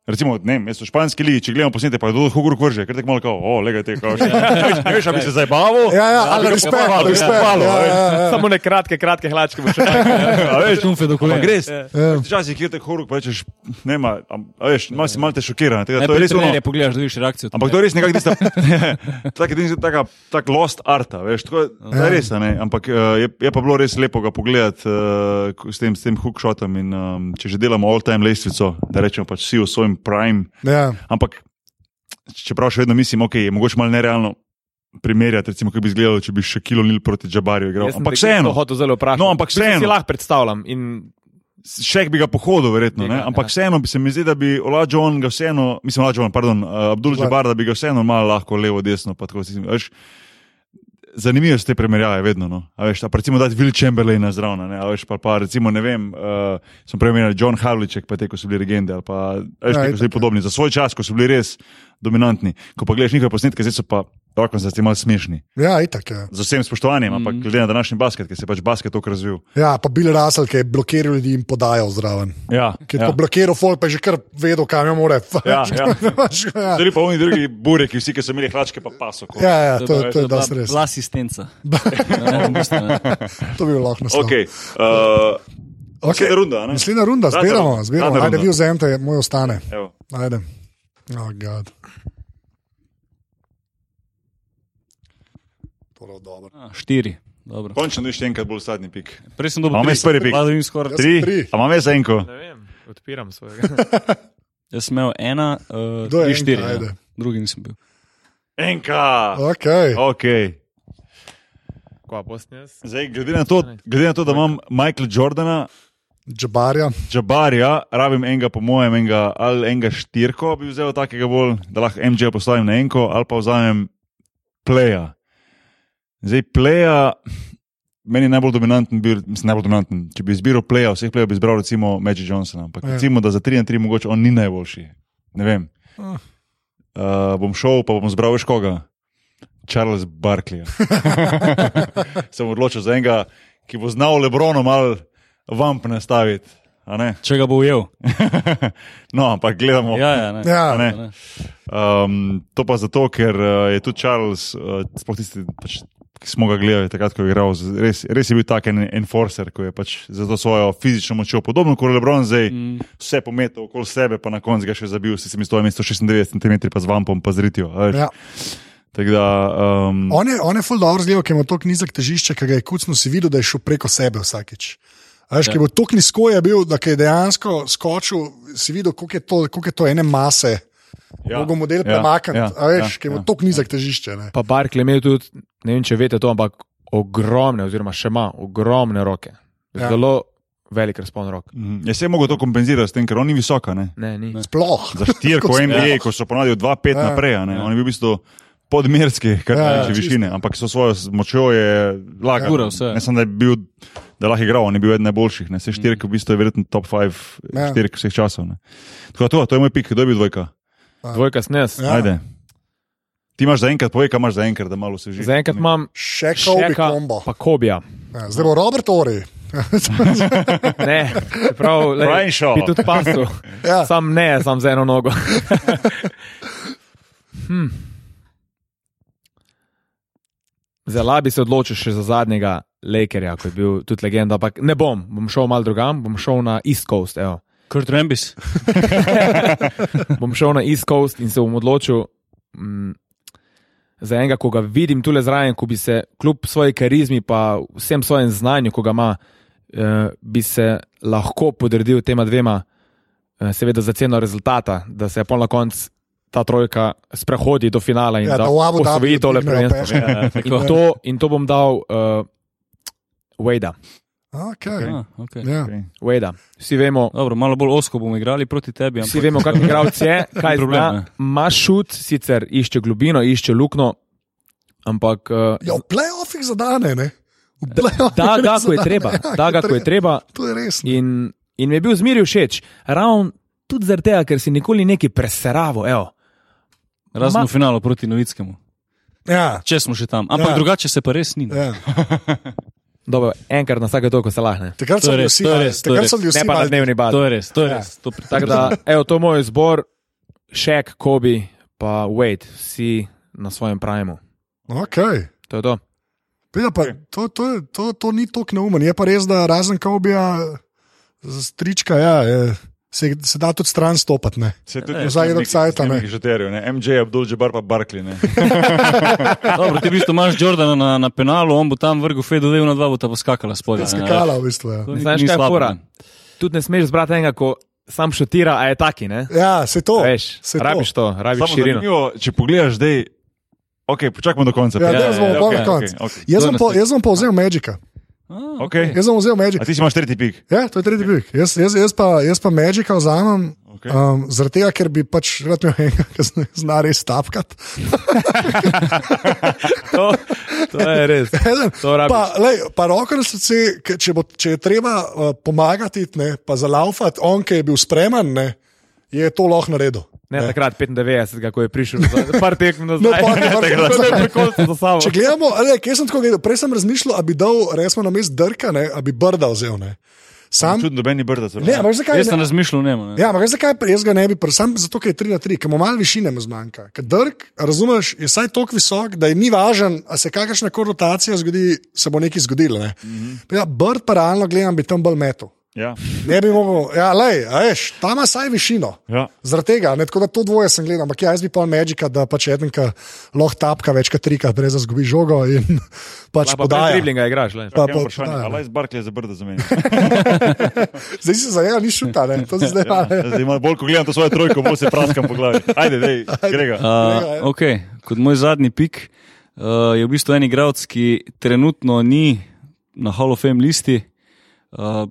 A: Recimo, ne, vem, jaz v španski ligi, če gledamo posnete, pa je to tako gor vrže, ker tako malo, kao, o, lega te, kao, še, ne veš- ne veš, ali bi se zdaj baval.
B: Ja, ja,
A: bi
B: ali
A: ga
B: respekt,
A: pohvalil, bi ga
B: respekt,
A: pohvalil,
B: ja,
A: a veš.
B: ja, ja.
C: Samo ne kratke, kratke hlačke. bo še
A: Ja, A veš,
D: Štumfe do
A: Pa
D: kolega.
A: greš.
B: ja,
A: Včasih je tako horuk, pa rečeš, nema, a veš, malo si malo te šokiran. Tega,
D: Ne,
A: to je res ono.
D: ne, pogledaš, dobiš reakcijo.
A: Ampak to je res nekako tista, tako edini- taka, tak lost arta, veš, tako je- to je res, a ne, ampak eh, je, je pa bilo res lepo ga pogledati eh, ko- s tem, s tem hookshotom in em, če že delamo all-time lestvico, da rečemo pač vsi v svojem prime,
B: Ja,
A: ampak čeprav še vedno mislim, ok, je mogoče malo nerealno primerjati, recimo, kako bi izgledalo, če bi še kilo nil proti Džabarju igral,
C: Jaz sem
A: ampak
C: te
A: vseeno.
C: to hotel zelo vprašati.
A: No, ampak
C: V bistvu
A: vseeno.
C: Si lahko predstavljam. In
A: Še bi ga pohodil, verjetno, ne?
D: Tega,
A: ampak
D: ja.
A: ja. vseeno bi se mi zdi, da bi Olajon ga vseeno, mislim, Olajon, pardon, eh, Abdul Jabbar, da bi ga vseeno malo lahko levo, desno. pa Tako, si- veš, zanimive so te primerjave, vedno. No? A veš, a pa recimo, da je Will Chamberlain zraven, a veš pa, pa recimo, ne vem, uh, sem prej omenil John Havliček, pa te, ko so bili legende, ali pa a veš,
B: Ja,
A: te, ko so bili podobni za svoj čas, ko so bili res dominantni. Ko pa gledaš njihove posnetke, zdaj so pa, rokom se ti malo smešni.
B: ja itak je.
A: Z vsem spoštovanjem, ampak
D: Mhm.
A: glede na današnji basket, ki se je pač basket tako razvil.
B: Ja, pa bil Rasel, ki je blokiral ljudi in podajal zraven.
A: Ja,
B: Ki je ja. blokiral folk, pa je že kar vedel, kam jo mora.
A: Ja, ja.
B: ja.
A: Zdaj pa oni drugi bureki, vsi, ki so imeli hlačke, pa paso.
B: Ja, ja, to, to je dosti res.
D: Bila asistenca. Ja, v bistvu, ne.
B: To bi bil lahko naslov.
A: Okay, uh,
B: Okay.
A: Naslednja runda, a ne?
B: Naslednja runda,
A: Zadnja
B: zbiramo,
A: runda,
B: zbiramo.
A: zadnja
B: Ajde,
A: runda.
B: vi vzemite, moj ostane.
A: evo.
B: Ajde. Oh, God. To je dobro.
D: A, Ah, Štiri. Dobro.
A: Končno je še enkrat bolj sadni pik.
D: Prej sem
B: No,
D: dobil
A: Imam jaz prvi pik.
D: Pa da vidim skoraj.
B: Jaz-
A: Tri,
B: tri.
A: a imam jaz enko?
C: ne vem, odpiram svojega.
D: Jaz sem imel ena, uh,
B: Kdo je
D: tri,
B: enka,
D: štiri. Ja.
B: ajde.
D: Drugi nisem bil.
A: Enka!
B: Okay.
A: Ok,
C: Kva posnjes?
A: zdaj glede na to, glede na to da imam Michael Jordana,
B: Džabarja,
A: Džabarja, rabim enega, po mojem, enega, ali enega štirko bi vzel takega bolj, da lahko MJ postavim na enko, ali pa vzamem Pleja. Zdaj, Pleja, meni je najbolj dominanten, bil, mislim, najbolj dominanten. Če bi izbiral Pleja, vseh Plejev bi izbral recimo Magic Johnsona, ampak
B: Ja.
A: recimo, da za 3 in 3 mogoče on ni najboljši. Ne vem.
B: Ah.
A: Uh, bom šel, pa bom zbral veš koga. Charles Barkley. Sem odločil za enega, ki bo znal Lebrono malo vamp nastaviti. a ne?
D: Če ga bo ujel.
A: no, ampak gledamo.
D: Ja, ja, ne.
A: a
B: ja,
A: ne.
D: Ne.
A: Um, to pa zato, ker uh, je tudi Charles, uh, sploh tisti, pač, ki smo ga gledali takrat, ko je igral, z- res, res je bil tak en enforcer, ki je pač za to svojo fizično močjo, podobno kot Lebron, zdaj mm. vse pometel okoli sebe, pa na koncu ga še zabil, si se mi stojim 196 cm, pa z vampom, pa zritijo.
B: ja.
A: Tako da, um,
B: On je, on je ful dobro zgledal, ker ima tako nizek težišče, ki ga je kucno si videl, da je šel preko sebe vsakič. A Veš, ja. ki bo tako nizko je bil, da ko je dejansko skočil, si videl, koliko je to, koliko je to ene mase. Ja. Mogo model ja. premakniti, ja. a veš, ja. ki ima tako nizek težišče. Ne.
C: Pa Barkley je imel tudi, ne vem, če veste to, ampak ogromne, oziroma še ima ogromne roke.
B: Ja.
C: Zelo velik razpon rok.
A: Mhm. Jaz se je mogel to kompenzirati s tem, ker on ni visoka. Ne?
C: Ne, ni.
B: Sploh.
A: Za štirko
B: Kot
A: NBA,
B: sploh.
A: ko so ponavljali 2-5
B: Ja.
A: naprej, a ne? on je bil v bistvu podmerski, kar
B: Ja,
A: ja,
B: ja,
A: tiče
B: čisto.
A: višine, ampak s svojo s- močjo je lagal.
D: Kural vse.
A: Ne samo, da je bil, da lahko igral, on je bil eden najboljših. Ne? Vse štirke v bistvu je verjetno top 5
B: Ja.
A: ja. štirk vseh časov. ne. Tako da to, to je moj pik, kdo je bil dvojka.
C: Dvojka snes.
B: Ja.
A: Ja. Ajde. Ti imaš za enkrat, povej, kaj imaš za enkrat, da malo se že.
C: Zaenkrat imam
B: Še kobi
C: šeka,
B: kombo.
C: pa kobija.
B: Ja, zdaj bo Robert Ori.
C: Ne, čeprav
A: Brian
C: lej,
A: Shaw.
C: bi tudi pasu.
B: Ja.
C: Sam ne, sam z eno nogo. Hm. Zelo bi se odločil še za zadnjega Lakerja, ko je bil tudi legenda, ampak ne bom, bom šel mal drugam, bom šel na East Coast. Evo.
D: Kurt Rambis.
C: bom šel na East Coast in se bom odločil mm, za enega, ko ga vidim tu le zraven, ko bi se kljub svoji karizmi, pa vsem svojim znanju, ko ga ima, eh, bi se lahko podredil tema dvema, eh, seveda za ceno rezultata, da se je pol na koncu ta trojka sprehodi do finala in
B: Ja, da v Abu
C: osvoji
B: Dhabiju
C: tole
B: dvignejo
C: prvenstvo.
B: peške.
C: In to, in to bom dal uh, Wada.
B: Okay.
D: Ja, okay.
B: Ja.
A: Okay.
C: Wada. Vsi vemo,
D: Dobro, malo bolj osko bomo igrali proti tebi.
C: Vsi
D: Ampak...
C: vemo, kakšen igralec je, kaj
D: Ni problema,
C: zna.
D: ne.
C: Ima šut, sicer išče globino, išče luknjo, ampak eh,
B: Ja, v playoffih zadane, ne? V playoffih
C: da ga,
B: res
C: ko
B: zadane.
C: je treba.
B: Ja,
C: Da ga, ko je treba.
B: To je res. ne.
C: In, in mi je bil zmeri všeč. Ravno tudi zaradi tega, ker si nikoli neki preseraval. evo.
D: Razen
C: Ma-
D: v finalu proti Novickemu.
B: Ja,
D: Če smo že tam.
B: Ja.
D: Ampak ja. drugače se pa res ni.
B: ja.
C: Dobro, enkrat na vsake toliko se lahne.
B: Takrat
D: To
B: so
D: je
B: bili
D: res,
B: vsi,
D: to je
B: mali-
D: res, to je
B: takrat so bili
C: Ne
B: vsi.
C: pa na
B: mali-
D: Ja.
C: dnevni bazi.
D: To je res, to je res. To pri-
C: Tako da, evo, to je moj izbor, Šek, Kobi, pa Wade, vsi na svojem primu.
B: Okay.
C: To je to.
B: Peda,
C: Ja.
B: pa, to, to, je- to, to ni tako neumen. Je pa res, da razen Kobija, strička, ja, je, se, se da tudi stran stopati. ne.
A: Se
D: Ja,
A: tudi
D: ja,
B: vsaj do cajta, ne.
A: Žeterju, ne. MJ, Abdul Jabbar pa Barkley, ne.
D: Dobro, ti v bistvu imaš Jordana na, na penalu, on bo tam vrgel Fedu, da je na dva bo ta poskakala spodaj.
B: Ja,
D: ne.
B: skakala, v bistvu. Ja.
D: To ni-
C: Znaš,
D: ni
C: kaj je
D: slabo,
C: fora?
D: ne.
C: Tudi ne smeš zbrati enega, ko sam šutira, a je taki. Ne?
B: ja, se to.
C: Veš,
B: se to.
C: rabiš to, rabiš
A: Samo
C: Ja, širino.
A: zanimivo, če pogledaš zdaj, ok, počakajmo do konca.
B: Ja,
A: pa-
B: danes bomo pol na
A: ok,
B: koncu.
A: ok, ok.
B: Jaz
D: To
B: sem,
D: je
B: po,
D: naslednji.
B: jaz sem pa vzel Magika.
D: A,
A: Ok.
B: Jaz sem vzel Magic.
A: A ti si imaš tretji pik.
B: Ja, to je tretji pik. Jaz, jaz, jaz, pa, jaz pa Magica vzamem,
A: Okay.
B: okay. um, zaradi tega, ker bi pač rad imel enega, ki zna- zna res tapkati.
C: To, to je res.
B: Eden,
C: To rabiš.
B: Pa, lej, pa roko na srce, ke- če, bo, če je treba uh, pomagati, ne, pa zalaufati, on, ki je bil spreman, ne, je to lahko naredil.
C: Ne, takrat 95, ko je prišel, za- par tekm
B: No,
C: nazaj.
B: pa, pa, pa,
C: To je prekolce za sabo.
B: Če gledamo, ali, kje sem tako gledal, prej sem razmišljal, ali bi dal resno na mest drka, ne, ali bi brda vzel. Ne. Sam,
A: Čudno, nobeni brda. celo.
B: ne, ampak veš zakaj?
D: Jaz sem razmišljal o njem. ne.
B: Ja, ampak veš zakaj jaz ga ne bi pr, sam zato, ker je 3 na 3, ker mu malo višine mu zmanjka. Ker drg, razumeš, je saj tako visok, da je ni važen, a se kakršna koli rotacija zgodi, se bo nekaj zgodilo. Ne? Mm -hmm. ja, Brd pa realno gledam, bi tam bolj metel.
A: Ja.
B: Ne bi mogel, ja, lej, a veš, tam ima saj višino.
A: Ja.
B: Zaradi tega, ne, tako da to dvoje sem gledal, ampak ja, jaz bi pa Magika, da pač eden, ki lahko tapka več kot trikrat, brez da zgubi žogo in pač
C: Pa pa
B: podaja.
C: driblinga igraš, le.
B: Pa,
A: Ja,
B: pa,
A: vprašanje,
B: podaja,
A: ali
B: ne.
A: je z Barkley za brda za meni?
B: zdaj si za njega ni šuta, ne, to si zdaj pa. ne.
A: Zdaj, ima- bolj ko gledam to svojo trojko, bolj se praskam po glavi. Ajde, dej, gre ga.
B: ja.
D: Uh, okay. Kot moj zadnji pik uh, je v bistvu en igralec, ki trenutno ni na Hall of Fame listi. Uh,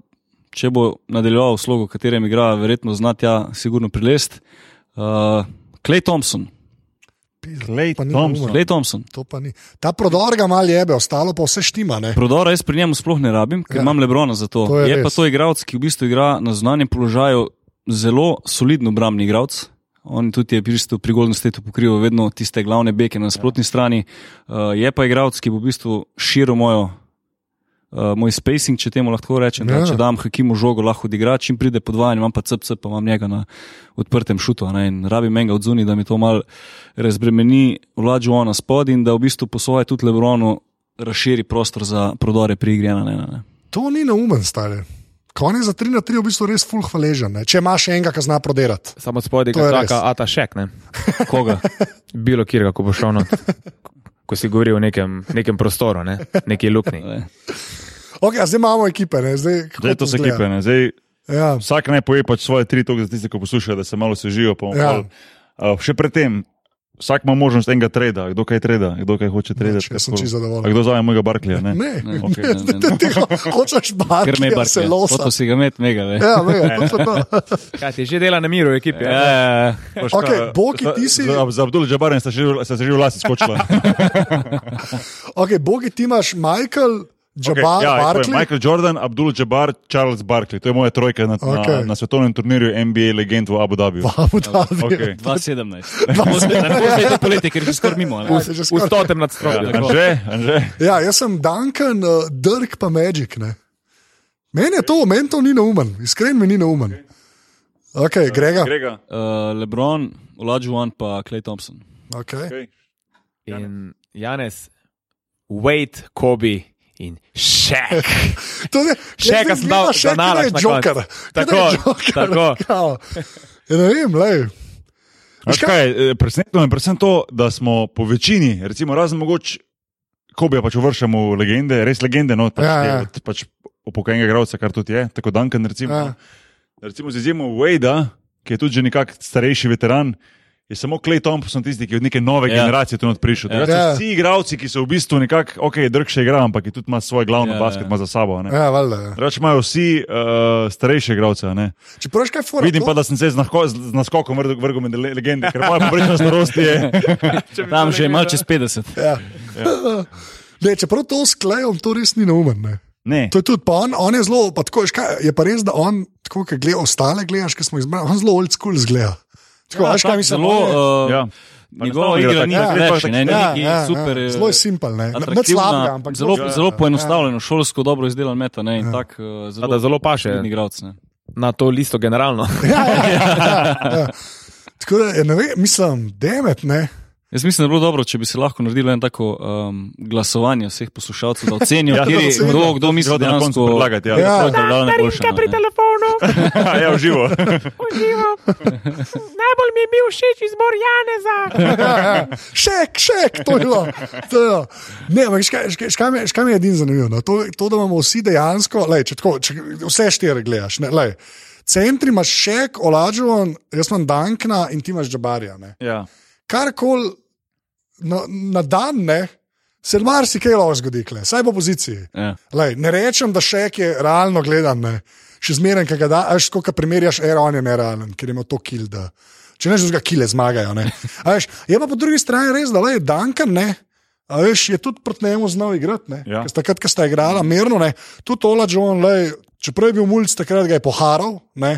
D: če bo nadaljeval v slogu, v katerem igra, verjetno znati, ja, sigurno prilest. Uh, Clay Thompson,
A: Klej
B: Pa ni
A: Thompson.
D: Clay Thompson.
B: To pa ni. Ta prodor ga malo jebe, ostalo pa vse štima. Ne?
D: Prodora jaz pri njemu sploh ne rabim, ker
B: Ja.
D: ja. imam Lebrona za to.
B: To je
D: je je pa
B: res.
D: to igralec, ki v bistvu igra na znanjem položaju, zelo solidno obrambni igralec. On tudi je pri bistvu pri Golden Stateu pokrival vedno tiste glavne beke na nasprotni ja. strani. Uh, je pa igralec, ki bo v bistvu širil mojo. Uh, moj spacing, če temu lahko rečem, ja.
B: Ja.
D: da, če dam Hakimu žogo, lahko odigra, čim pride podvajanje, imam pa CPC, pa imam njega na odprtem šutu. a Ne, in rabim enega od zunij, da mi to malo razbremeni vlađo ona spod in da v bistvu posvoje tudi Lebronu razširi prostor za prodore pri igri. ena na ena, Ne,
B: To ni neumen stale. Konec za 3 na 3 je v bistvu res full hvaležen, ne? če imaš enega, ki zna prodirati.
C: Samo spodaj
B: To
C: ga
B: je
C: čaka
B: res.
C: Ata Šek, ne.
D: ne. Koga?
C: Bilo kjer, ko bo šel not. Ko si govoril o nekem, nekem prostoru, ne? neki luknji.
B: Okay, zdaj imamo ekipe. Ne? Zdaj, kako
A: Zdaj to se
B: izgleda?
A: kipe. ne. Zdaj,
B: Ja.
A: vsak naj poje pač svoje tri toke za tiste, ki poslušajo, da se malo sežijo.
B: Ja.
A: Ja. Uh, še predtem, vsak ima možnost enega treda, kdo kaj treda, kdo kaj hoče tredati.
B: Jaz sem
A: kako-
B: čisto
A: A
B: zadovoljen.
A: kdo zame mojega Barklija? Ne?
B: Ne,
D: Ne,
A: okej, ne,
D: ne,
B: Te-
D: ne.
B: te ho- hočeš barki,
D: Ker me je
B: ja,
D: bar
B: se losa.
D: Foto si ga met, mega ve.
B: Ja, ne, to, to, to.
C: Kaj ti že dela na miru, v ekipi?
D: Ja,
C: Ja.
D: ja, ja.
A: Boš
B: Ok,
A: kar-
B: Boki, ti si-
A: Za, za Abdul Džabarjem sta že sta se že v lasi skočila.
B: Okay, bogi, ti imaš Michael, Jabbar,
A: Ok,
B: okay,
A: ja, to je
B: Barkley.
A: Michael Jordan, Abdul Jabbar, Charles Barkley. To je moja trojka na, okay.
B: Ok.
A: na, na svetovnem turnirju NBA legend v Abu Dhabiju.
B: Abu Dhabi.
A: Okej.
D: 2017. Tako se je to poletje, ker je že skoraj mimo. ne.
B: Ja, se že
C: V
B: skoraj-
C: stotem nadstropju.
D: Ja.
A: Anže, anže.
B: Ja, jaz sem Duncan, uh, Dirk pa Magic. Ne? Meni je to, meni to ni neumen, iskren mi ni neumen. Okay, Ja. Grega.
A: Grega.
D: Uh, Lebron, Olajuwon pa Clay Thompson.
B: Okay.
A: Okay.
C: In Janes, Wade, Kobe in Šek.
B: To je
C: Še enkrat sem dal
B: še
C: zanalaš
B: nekaj
C: na
B: joker.
C: Tako, tako.
B: Ja, ne vem, lej.
A: Veš kaj, eh, presenetilo me je predvsem to, da smo po večini, recimo, razen mogoče, ko bi pač uvršamo v legende, res legende, no, pač,
B: Ja,
A: ja,
B: ja.
A: ja. Od, pač upokojenega gradca, kar tudi je, tako Duncan, recimo.
B: Ja.
A: Ja. Recimo z izjemo Wade, ki je tudi že nekako starejši veteran. Je samo Clay Thompson tisti, ki je od neke nove
D: Ja.
A: ja. generacije tu not prišel.
D: Ja.
A: Ja. Ja.
B: Ja.
A: Vsi igravci, ki so v bistvu nekako, ok, drg še igra, ampak je tudi ima svoj glavni
D: Ja,
A: ja, basket
D: ja.
A: ja. za sabo. ne.
B: Ja, valjda. ja.
A: Drugače imajo vsi uh, starejše igralce. a ne.
B: Če praviš kaj fora.
A: Vidim
B: to-
A: pa, da sem se z nahko- z- z naskokom vrgel vrgel med le- legende, ker moja povprečna starost je
D: Tam že je malo čez 50.
B: Ja. Ne, čeprav to s klejem, to res ni neumen. Ne.
A: Ne,
B: To je tudi pa on, on je zelo, pa tako, veš kaj, je pa res, da on, tako kot gleda ostale, gledaš, ki smo jih zbrali, on zelo old school zgleda. Tako, ja, veš kaj, mislim, on
C: eh,
B: je-
D: Zelo, uh,
A: ja.
D: ja. njegova
A: enostavno igra
D: igra
A: tako,
D: ni
A: ja,
D: več,
A: tako,
D: ne, ni
B: ja,
D: neki
B: ja,
D: super.
B: ja.
D: eh,
B: Zelo je simpel, ne, ne
D: atraktivna,
B: slabega, ampak
D: zelo,
B: zelo- ja,
D: zelo poenostavljeno, šolsko dobro izdelan meta. Ne, in tak,
C: A
D: eh,
C: Da
D: zelo
C: zelo paše
D: igralec.
C: na to listo generalno.
B: Ja, ja, ja, ja. Tako da, ne vem, mislim, demet, ne.
D: Jaz mislim, da bi bilo dobro, če bi se lahko naredilo eno tako um, glasovanje vseh poslušalcev, da ocenijo,
A: Ja,
D: ja, kjeri,
B: da ocenijo.
D: kdo, kdo misli, da
A: na koncu
D: dejansko
A: predlagati. Ja,
B: Ja.
A: ja.
D: predala najboljša.
E: Starinka pri telefonu,
A: ja v živo.
E: uživo. Najbolj mi je bil všeč izbor Janeza.
B: Šek, šek, to je bilo. To je bilo. Ne, ampak škaj, škaj, škaj, me, škaj me je edin zanimivo. No? To, to, da imamo vsi dejansko, lej, če tako, če vse štiri gledaš. Ne, lej. Centri imaš šek, olažuvan, jaz imam Dankna in ti imaš džabarja. Ne?
D: Ja.
B: Karkoli na, na dan ne, se marsikaj lahko zgodi, kle, saj po poziciji.
D: Ja.
B: Lej, ne rečem, da še je realno gledan. Ne. Še zmeraj, ki ga daš, ko ga primerjaš, era on je nerealen, ker ima to kilda. Če neš drugega kile zmagajo. ne. A Veš, je pa po drugi strani res, da le je Dankan, ne. A veš, je tudi proti njemu znal igrati. ne.
A: Ja.
B: Ker sta Takrat, ko sta igrala, merno, ne. tudi Ola John, le, čeprav je bil mulj, takrat ga je poharal. Ne.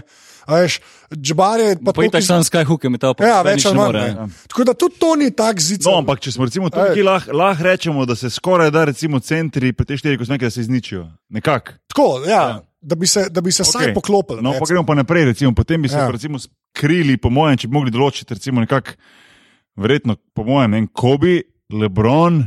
B: A veš, Džabar je pa
D: Pa itak sam Skyhook je metal, pa
B: Ja,
D: noben
B: več
D: nič
B: ali
D: ne
B: manj.
D: more,
B: ne.
D: ja.
B: Tako da tudi to ni tak zid.
A: No, ampak če smo recimo tukaj,
B: Ej.
A: lahko lah rečemo, da se skoraj da recimo centri, pa te štiri, ko smo rekli, da se izničijo. Nekako.
B: Tako, ja, ja. Da bi se, da bi se okay.
A: Okej.
B: saj poklopili.
A: No,
B: ne.
A: pa gremo pa naprej, recimo, potem bi se
B: Ja.
A: ja. recimo skrili, po mojem, če bi mogli določiti, recimo, nekako, verjetno, po mojem, ne, vem, Kobe, Lebron,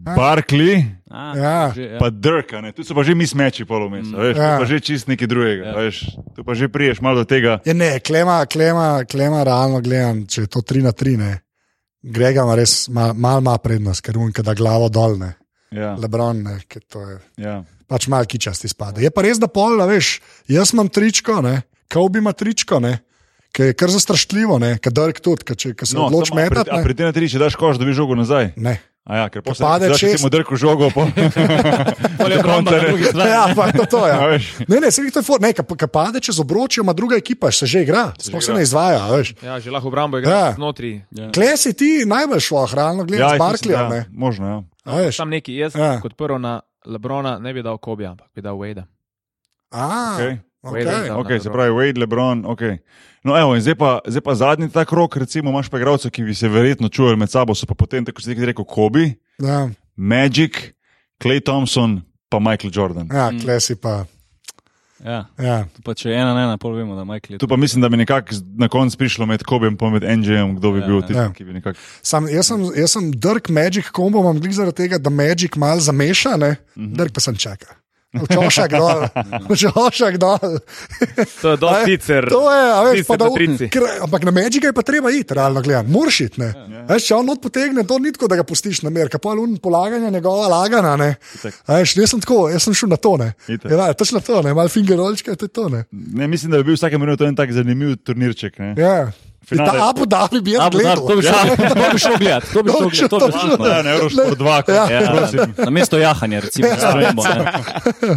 B: Ja.
A: Barkley,
D: A,
B: Ja.
D: že, ja.
A: pa Dirk, a ne, tu so pa že mi smeči polovmes,
D: Mm.
A: veš,
B: Ja.
A: ja. pa že čist nekaj drugega,
D: Ja.
A: ja. veš, tu pa že priješ malo do tega.
B: Je Ja, ne, klema, klema, klema, realno gledam, če je to 3 na 3, ne. Grega ima res malo mal, mal prednost, ker unka da glavo dolne,
A: Ja,
B: lebron, ne, ker to je
A: ja.
B: pač malo kičasti spada. Je pa res, da pol, a veš, jaz imam tričko, ne, Kobe ima tričko, ne, ki je kar zastrašljivo, ne, ker Dirk tudi, ker če- ker se no, odloči
A: samo, a pri,
B: metati.
A: a
B: ne.
A: pri tem na tri, če daš koš, dobiš žogo nazaj.
B: Ne.
A: A ja, ker pa
B: pade
A: daš
B: čez.
A: recimo Dirku žogo, pa
D: Pol je obramba na drugi strani.
B: Ja, pa je to, to
A: A
B: ja.
A: veš.
B: Ne, ne, se jih to je for, ne, ki pade čez obročje, ima druga ekipa, se že igra, sploh se ne izvaja, a veš.
C: Ja, že lahko
B: Ja.
C: obrambo igra ja. znotraj.
B: Kle si ti najbolj šlo, realno gledam,
A: Ja, jaz
B: z
A: mislim,
B: Barkleyom,
A: ja,
B: ne.
A: možno, ja.
B: A veš.
C: Sam neki, jaz
B: Ja.
C: ja. kot prvo na Lebrona ne bi dal Kobija, ampak bi dal Wade.
B: A,
A: Okej.
B: okej.
C: Vedel, da.
A: Okay, se pravi, Wade, Lebron. Okay. No, evo, in zdaj, pa, zdaj pa zadnji ta krok, recimo, imaš pa igralce, ki bi se verjetno čuvali med sabo, so pa potem, tako kot si ti rekel, Kobe,
B: Ja,
A: Magic, Clay Thompson, pa Michael Jordan.
B: ja klesi pa.
D: Ja.
B: Ja.
D: Pa če je ena na ena, pol vemo, da Michael je
A: Tu pa mislim, da bi nekako z- na koncu prišlo med Kobejem in med NJ-om, kdo bi
D: Ja,
A: ja, bil
D: ja.
A: tisti,
B: Ja.
A: ja. ki bi nekako.
B: Sam, jaz, sem, jaz sem Dirk Magic kombo, imam glih zaradi tega, da Magic mal zameša, ne? Dirk pa sem čaka. Včošak dol, včošak dol.
C: To je
A: ja.
B: A je,
C: sicer.
B: To je, a veš,
C: sicer
B: pa da
C: na trici.
B: ker, Ampak na Magica je pa treba iti, realno gledam, moraš iti. ne. A Veš, če on not potegne, to ni tako, da ga pustiš na mer, kaj pa lun polaganja njegova lagana, ne. A Veš, jaz sem tako, jaz sem šel na to, ne.
A: Itak.
B: Ja, točno to, ne, mal fingerolčka, to je to, ne.
A: Ne, mislim, da bi bil v vsakem primeru to en tak zanimiv turnirček. Ne?
B: Ja. In
A: Finale.
B: Ta Abu Dhabi bi jaz
D: Abu Dhabi,
B: gledal.
D: to bi šel to bi šel gledat, to bi šel
B: bi šel
D: gledat, to bi
B: to
D: šel
A: Ja,
D: gledat.
A: ne, Eurosport 2, kot ja.
D: Ja,
A: prosim.
D: na mesto jahanja, recimo, ja, sprembo, ne.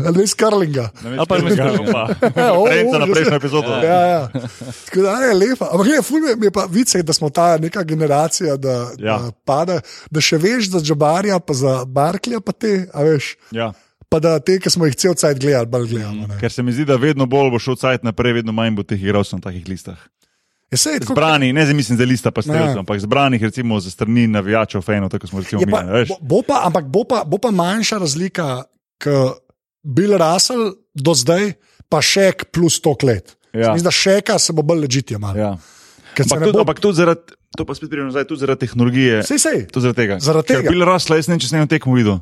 B: Ali ne iz Karlinga.
A: Ali pa
D: Ameriškega.
B: ja. o,
A: Referenca na
B: že-
A: prejšnjo epizodo.
B: Ja, ja. Tako da je lepa. Ampak je, ful mi je pa vice, da smo ta neka generacija, da, ja.
A: Ja.
B: da pada, da še veš za Džabarja, pa za Barklija, pa te, a veš.
A: Ja.
B: Pa da te, ki smo jih cel cajt gledali, bolj gledamo. ne.
A: Ker se mi zdi, da vedno bolj bo šel cajt naprej, vedno manj bo teh igralcev na takih listah.
B: Ja, sej, tako,
A: Zbrani, ne zdaj mislim za lista, pa
B: Ne.
A: streljcev, ampak zbranih, recimo, za strani navijačev, fejno, tako smo recimo
B: je pa,
A: mi.
B: bo, bo pa, ampak bo pa, bo pa manjša razlika, kot bil Russell do zdaj, pa še k plus 100 let.
A: Ja.
B: Mislim, da še kaj se bo bolj ležitje malo.
A: Ja.
B: Ker se
A: Ampak,
B: ne
A: tudi,
B: bo-
A: ampak tudi zaradi, to pa spet pridem nazaj, tudi zaradi tehnologije.
B: Sej, sej.
A: Tudi zaradi tega.
B: Zaradi tega.
A: Bil Rasla, jaz ne vem, če sem eno tekmo videl.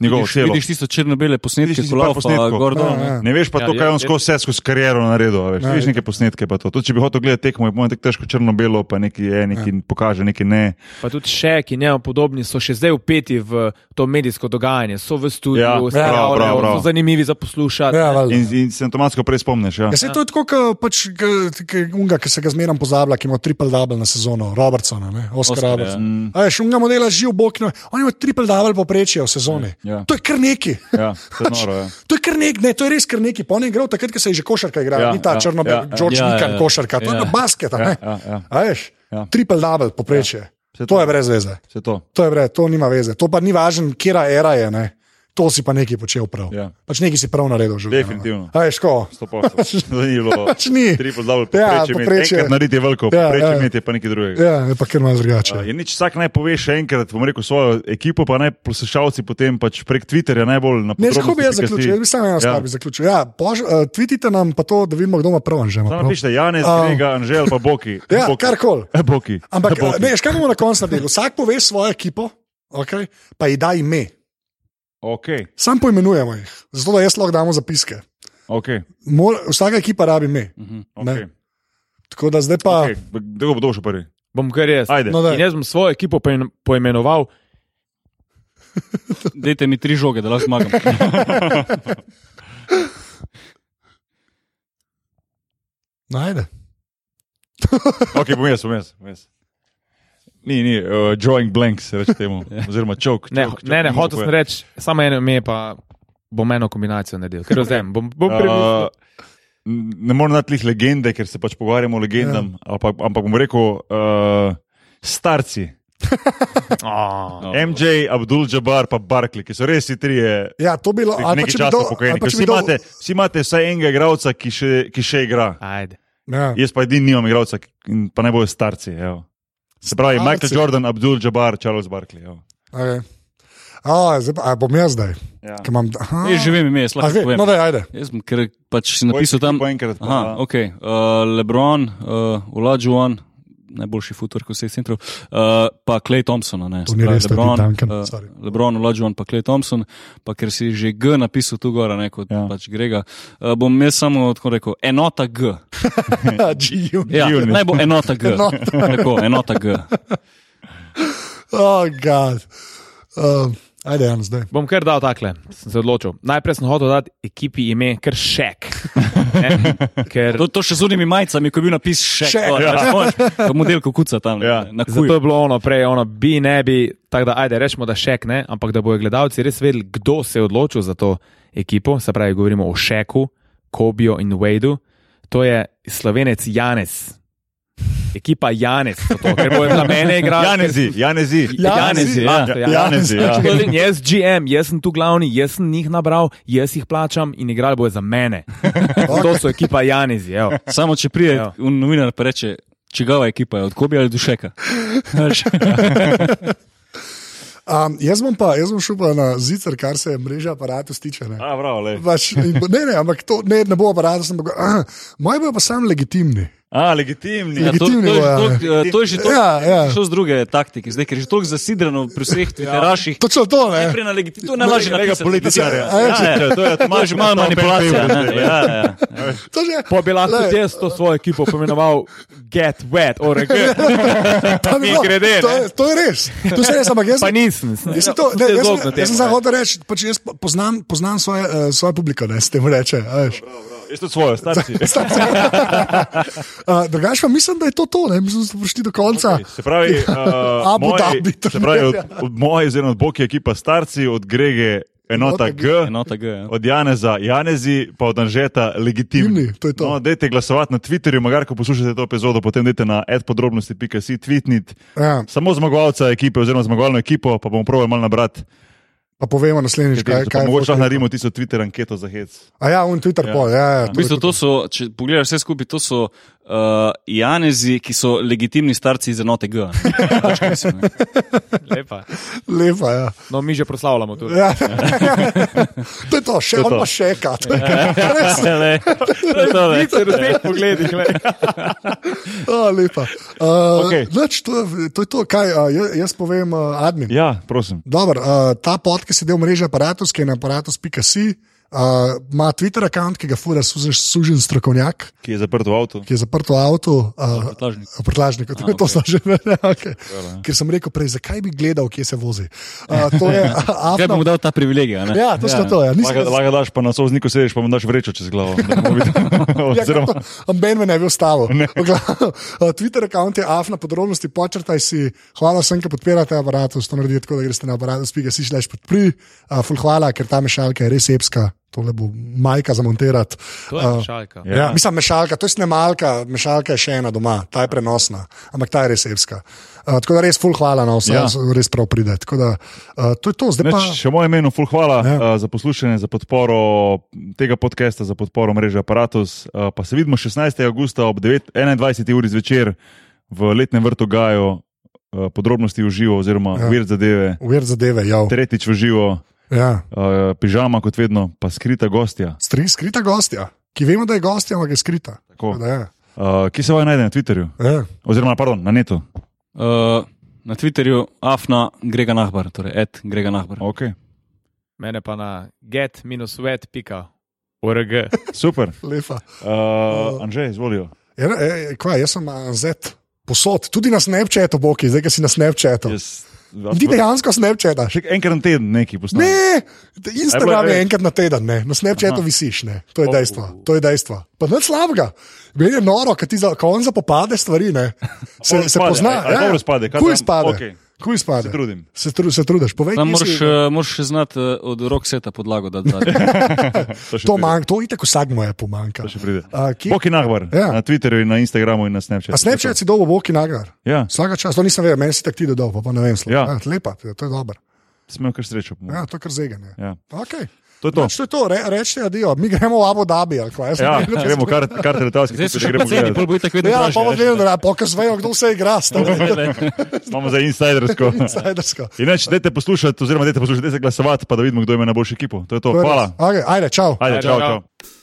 A: Njegovo
D: Vidiš,
A: celo.
D: vidiš tisto črno-bele posnetke,
A: Vidiš
D: ko
A: tisti par
D: laufa
A: posnetkov.
D: gor dol,
B: Ja,
D: ne.
B: ja.
A: Ne veš pa
C: Ja,
A: to, kaj
C: ja,
A: je on
C: ja.
A: skozi vse skozi kariero naredil. a Veš,
B: Ne.
A: ne, vidiš neke posnetke. pa To. To, če bi hotel gledati tekmo, je po mojem tako težko črno-belo, pa neki je, neki
B: Ja.
A: ne. pokaže, neki ne.
C: Pa tudi še, ki njemu podobni, so še zdaj upeti v to medijsko dogajanje, so v studiu,
A: Ja,
C: se
A: prav,
C: javljajo,
A: prav, prav.
C: so zanimivi za poslušati.
B: Ja,
C: ne.
B: valjda.
A: In, in se avtomatsko prej spomniš. Ja.
B: Ja, sej, to je tako, kot pač, ke- ke unga, ki se ga zmeraj pozablja, ki ima triple double na sezono, Robertsona, ne? Oscar,
D: Oscar,
B: Oscar Robertson.
D: ja.
A: Mm.
B: Ja. Veš, unga modela živ bok, no. on ima triple double poprečje v sezoni.
A: Ja.
B: To je kar neki.
A: Ja, se noro, ja.
B: To je kar nek, ne, to je res kar neki. Pa on je igral takrat, ko se je že košarka igrala,
A: Ja,
B: ni
A: ja,
B: ta črno,
A: ja,
B: ja, George
D: ja,
B: ja, Nikan
D: ja.
B: ja, košarka, to ja.
D: Ja.
B: je pa basket. Ja, ja.
A: Ja, ja.
B: Veš, ja.
A: Ja.
B: triple double poprečje.
A: Saj
B: Ja. To je brez veze.
A: Se to.
B: To, je brez, to nima veze. To pa ni važno, kera era je. Ne. to si pa nekaj počel prav.
A: Ja.
B: Pač nekaj si prav naredil v življenju.
A: Definitivno.
B: Aj, ško.
A: To pa ni bilo.
B: Pač ni.
A: Tri pozdravljene,
B: Ja,
A: povprečje imeti,
B: povprečje.
A: enkrat narediti je veliko,
B: Ja,
A: povprečje
B: ja.
A: imeti je pa nekaj drugega.
B: Ja, je pa ker malo drugače.
A: Uh, Je nič, vsak naj pove še enkrat, bom rekel svojo ekipo, pa naj poslušalci potem pač prek Twitterja najbolj
B: Ne,
A: napišejo.
B: kako bi jaz zaključil? Jaz bi samo eno stvar
A: Ja.
B: bi zaključil. Ja, pož, uh, tvitite nam pa to, da vidimo, kdo ima prvo že.
A: Samo napišite Janez,
B: A.
A: Grega, Anžel pa Boki.
B: Ja,
A: Boki.
B: karkoli.
A: Boki.
B: Ampak
A: Boki.
B: eh, ne, veš, kaj bomo na koncu naredili? Vsak pove svojo ekipo, okay, pa ji da ime.
A: Okay,
B: Sam poimenujemo jih, zato da jaz lahko damo zapiske.
A: okay,
B: Mor, vsaka ekipa rabi ime.
A: okay,
B: Tako da zdaj pa.
A: okay. Kdo bo došel prvi?
C: Bom kar jaz.
A: Ajde.
B: No, daj.
C: In jaz bom svojo ekipo poen- poimenoval
D: Dajte mi tri žoge, da lahko zmagam. Ja,
B: Najde.
A: Ok, bom jaz, bom jaz. Bom jaz. Ni, ni, uh, drawing blanks, reče temu. Oziroma, čok.
C: Ja.
A: ja.
C: Ne, ne, ne hotel sem reči, samo eno ime, pa bom eno kombinacijo naredil. Ker vzem, bom, bom
A: Uh,
C: uh,
A: ne morem dati lih legende, ker se pač pogovarjamo o legendam,
C: Ja.
A: ali pa, ampak bom rekel uh, starci.
C: oh,
D: No.
A: MJ, Abdul Jabbar, pa Barkley, ki so res ti trije.
B: Ja, to bi bilo. ali pa
A: Nekaj
B: če bi
A: časa
B: dal- ali
A: pokojni.
B: pa
A: ker
B: če
A: Vsi,
B: bi dal-
A: imate- vsi imate vsaj enega igralca, ki še, ki še igra.
C: Ajde.
B: Ja.
A: Jaz pa edini nimam igralca, ki- in pa naj bojo starci. Evo. Se pravi,
B: Starci.
A: Michael Jordan, Abdul Jabbar, Charles Barkley. evo.
B: Okay. A, zdaj, pa- a bom jaz zdaj,
A: Ja.
B: ki imam. Aha.
D: Ne, živim ime, jaz
B: A,
D: lahko
B: zdaj,
D: povem.
B: no, daj, ajde.
D: Jaz sem ker pač si napisal tam.
A: Po enkrat. Pa,
D: Aha, ok. Uh, Lebron, uh, Olajuwon, najboljši futbol vseh centrov, uh, pa Clay Thompson. a Ne,
B: To
D: Se
B: ni
D: pravi,
B: res, to je
D: LeBron,
B: Duncan,
D: eh,
B: sorry.
D: Lebron, Olajuwon, pa Clay Thompson, pa ker si že G napisal tu gora, ne, kot
A: Ja.
D: ja. pač Grega. Uh, bom jaz samo tako rekel, enota G.
B: Ja, G.U.
D: Ja,
A: Unit.
D: naj bo enota G.
B: Enota.
D: Tako, enota G.
B: Oh, God. Um, ajde, Jan, zdaj.
C: Bom kar dal takle, sem se odločil. Najprej sem hotel dati ekipi ime, ker šek. Ne, ker
D: To, to še z unimi majicami, ko je bil napis še.
B: Shaq,
D: to,
A: ja.
D: ja. To model kukuca tam,
A: Ja.
D: ja. na
C: Zato
D: kuju.
C: je bilo ono prej, ono bi, ne bi, tako da ajde, rečemo, da šek ne, ampak da bojo gledalci res vedeli, kdo se je odločil za to ekipo. Se pravi, govorimo o Šeku, Kobijo in Wadeu. To je slovenec Janez. Ekipa Janez, zato, ker bojo za mene igrali.
A: Janezi, Janezi.
C: Janezi, ja.
A: Ja, Janezi, ja.
C: Tako da in Jaz, GM, jaz sem tu glavni, jaz sem jih nabral, jaz jih plačam in igrali bojo za mene. To so ekipa Janezi. evo.
D: Samo če pride
C: Ja.
D: un novinar pa reče, čigava ekipa je, od Kobija ali Dušeka. Veš?
B: Um, jaz, bom pa, jaz bom šel pa na zicer, kar se mreže aparatov tiče. Ne.
A: A, bravo, lej.
B: Pač, in bo- ne, ne, ampak to ne, ne bo aparatov, sem pa. Uh, moji bojo pa sam legitimni.
A: A, legitimni.
D: Ja, to, to, je
B: Legitimni
D: že
B: bojo,
D: toliko, eh, to je že toliko,
B: Ja, ja.
D: šel z druge taktike, zdaj ker je že toliko zasidrano pri vseh tviteraših.
B: Točno to, ne.
D: Najprej na legitimno, to je najlažje
A: Kolega
D: napisati.
A: političarja.
D: Ja, ja,
A: Ja, to je
D: To je že malo manipulacija. ne. Ja, ja.
B: To že,
C: Pa bi lahko
B: Glej,
C: tudi jaz to svojo ekipo pomenoval Get Wet, ORG.
B: Ja, pa bi bilo-
C: Mimogrede,
B: to,
C: ne.
B: je- to je res. To se res, ampak jaz.
C: Pa nisem. sem-
B: Jaz, sem to, ne,
C: sem
B: jaz,
C: zelo na
B: sem, jaz sem
C: temo,
B: samo
C: ne.
B: hotel reči, pač jaz po- poznam, poznam svoje, uh, svoje publiko, ne, s tem reče. a veš.
A: Jaz tudi svojo, starci.
B: Uh, drugač pa mislim, da je to to, ne, mislim, da smo prišli do konca. Okay.
A: Se pravi, uh,
B: Ja. Abu
A: moji-
B: Dhabi
A: se pravi od, od moje, oziroma od Boki ekipa starci, od Grege enota
B: Enota
A: G,
D: Enota G. ja.
A: od Janeza Janezi, pa od Anžeta legitimni.
B: Legitimni, to je to.
A: No, dajte glasovati na Twitterju, magar ko poslušate to epizodo, potem dajte na adpodrobnosti.si tweetnit.
B: Ja,
A: Samo zmagovalca ekipe oziroma zmagovalno ekipo, pa bomo probali malo nabrati.
B: pa povemo naslednjič, kaj,
A: Pa
B: kaj je.
A: Mogoče lahko naredimo tisto Twitter anketo za hec.
B: A ja, on Twitter
A: Ja.
B: ja. pol. Ja, ja,
D: V bistvu to so, če pogledaš vse skupaj, to so uh, Janezi, ki so legitimni starci iz enote G. ne. Pač, kaj so, ne.
C: Ja, Lepa.
B: Lepa, ja.
C: No, mi že proslavljamo tudi.
B: ja. to je to,
A: je
B: še on
A: to.
B: pa še kat.
D: Lej, to je to, ne.
C: Se razumeš, pogledi, glej.
B: Oh, lepa. Uh,
A: Okej.
B: okay. nač, to, je- to je to, kaj uh, jaz, jaz povem uh, admin. Ja.
A: Ja, prosim.
B: Dobar, uh, ta podcast je del mreže Apparatus, ki je na aparatus.si. Uh, ima Twitter račun, ki ga fura sužen, sužen strokovnjak,
A: Ki je zaprt v avtu.
B: ki je zaprt v avtu. Uh,
D: Prtljažnik.
B: V prtljažniku, to, okay. to sem že rekel. Okay. Ker sem rekel prej, zakaj bi gledal, kje se vozi. Uh, to je
D: Kaj bom
B: avto.
D: dal ta privilegij? a ne?
B: Ja, točno ja. to je. Nisem-
A: Laga daš pa na sovzniku sediš, pa mu daš vrečo čez glavo. da bomo videli.
B: Ja,
A: Oziroma,
B: Ben me ne bi ustavil. V glavnem, uh, Twitter račun je afna podrobnosti, počrtaj si. Hvala vsem, ki podpirate aparatus. To naredite tako, da greste na aparatus.si šleš podpri. Uh, ful hvala, ker ta mešalka je res epska. tole bo majka zamontirati.
C: To je
B: A,
C: šalka.
A: Ja.
B: Ja. Mislim, mešalka, to je snemalka, mešalka je še ena doma, ta je prenosna, ampak ta je res evska. Uh, tako da res full hvala na vse,
A: Ja.
B: ja. res prav pride. Tako Da, uh, to je to, zdaj pa.
A: Neč, še moje ime, ful, hvala
B: Ja.
A: ja. uh, za poslušanje, za podporo tega podcasta, za podporo mreže Apparatus. Uh, pa se vidimo 16. augusta ob 9, 21. uri zvečer v letnem vrtu Gaju, uh, podrobnosti v živo, oziroma ja.
B: Ja.
A: vir zadeve,
B: Uver zadeve, jav.
A: tretjič v živo,
B: ja.
A: uh, pižama kot vedno, pa skrita gostja.
B: Stri, skrita gostja, ki vemo, da je gostja, ampak je skrita.
A: Tako.
B: Tako Da, ja.
A: Uh, ki se vam najde na Twitterju,
B: Ja.
A: oziroma pardon, na netu.
D: Uh, na Twitterju afna Grega Nahbar, torej et Grega Nahbar.
A: Okay.
C: Mene pa na get-wet.org.
A: Super.
B: Lepa.
A: Uh, Anže, izvolijo.
B: Ja, e, e, kva, jaz sem anzet, posod, tudi na Snapchatu, boki, zdaj, ki si na Snapchatu. Yes.
A: Jaz,
B: Ti dejansko Snapchataš.
A: še enkrat na teden nekaj postanem.
B: Ne, Instagram
A: Aj,
B: je
A: bila-
B: enkrat na teden, ne. na Snapchatu
A: Aha.
B: visiš, ne. to je dejstvo. To je dejstvo. Pa nič slabega. Meni je noro, ker ti za kon zapopade stvari, ne.
A: A
B: Se,
A: pol
B: se
A: spade,
B: pozna.
A: a- a dobro spade, kaj
B: Kuj
A: tam?
B: spade.
A: Okej.
B: Kuj spade.
A: Se trudim.
B: Se, tru, se trudiš, povej,
D: Tam
B: kje
D: moraš,
B: si-
D: eh, moraš še znati eh, od rokseta podlago, da daš.
A: To še
B: To,
A: pride.
B: manj, to itak vsakmo je pomanjka.
A: To še pride.
B: A, kje-
A: Boki nahbar,
B: Ja.
A: ja. na Twitterju, in na Instagramu in na Snapchatu.
B: A Snapchat si dobo boki nagrar.
A: Ja,
B: Vsaka čas, to nisem vedel, meni si tak ti dodal, pa, pa ne vem, slabo.
A: Ja.
B: Ja. Lepa, to je dobro.
A: smo kar srečo. po mojem.
B: Ja, to je kar zeganje.
A: Ja.
B: Okay.
A: To je to.
B: Pač to je to, re, rečete, adijo, mi gremo v Abu Dhabi. ali kva, jaz
A: Ja,
B: ne vem, kaj
A: gremo
B: se-
A: kar, kar teletalski,
D: Zdaj
A: tudi
D: so
A: če
D: še
A: gremo
D: paceni, pol
A: gledati.
D: bo itak vedno
B: Ja,
D: dražje,
B: pa
D: veš.
B: vedno, da pokaž vejo, kdo vse igra, stari.
A: Imamo za insidersko.
B: Sajdersko.
A: In več, dajte poslušati, oziroma dajte poslušati, dajte se glasovati, pa da vidimo, kdo ima najboljšo ekipo. To je to. Hvala.
B: Okay, ajde, čao.
A: Ajde, čau, čau.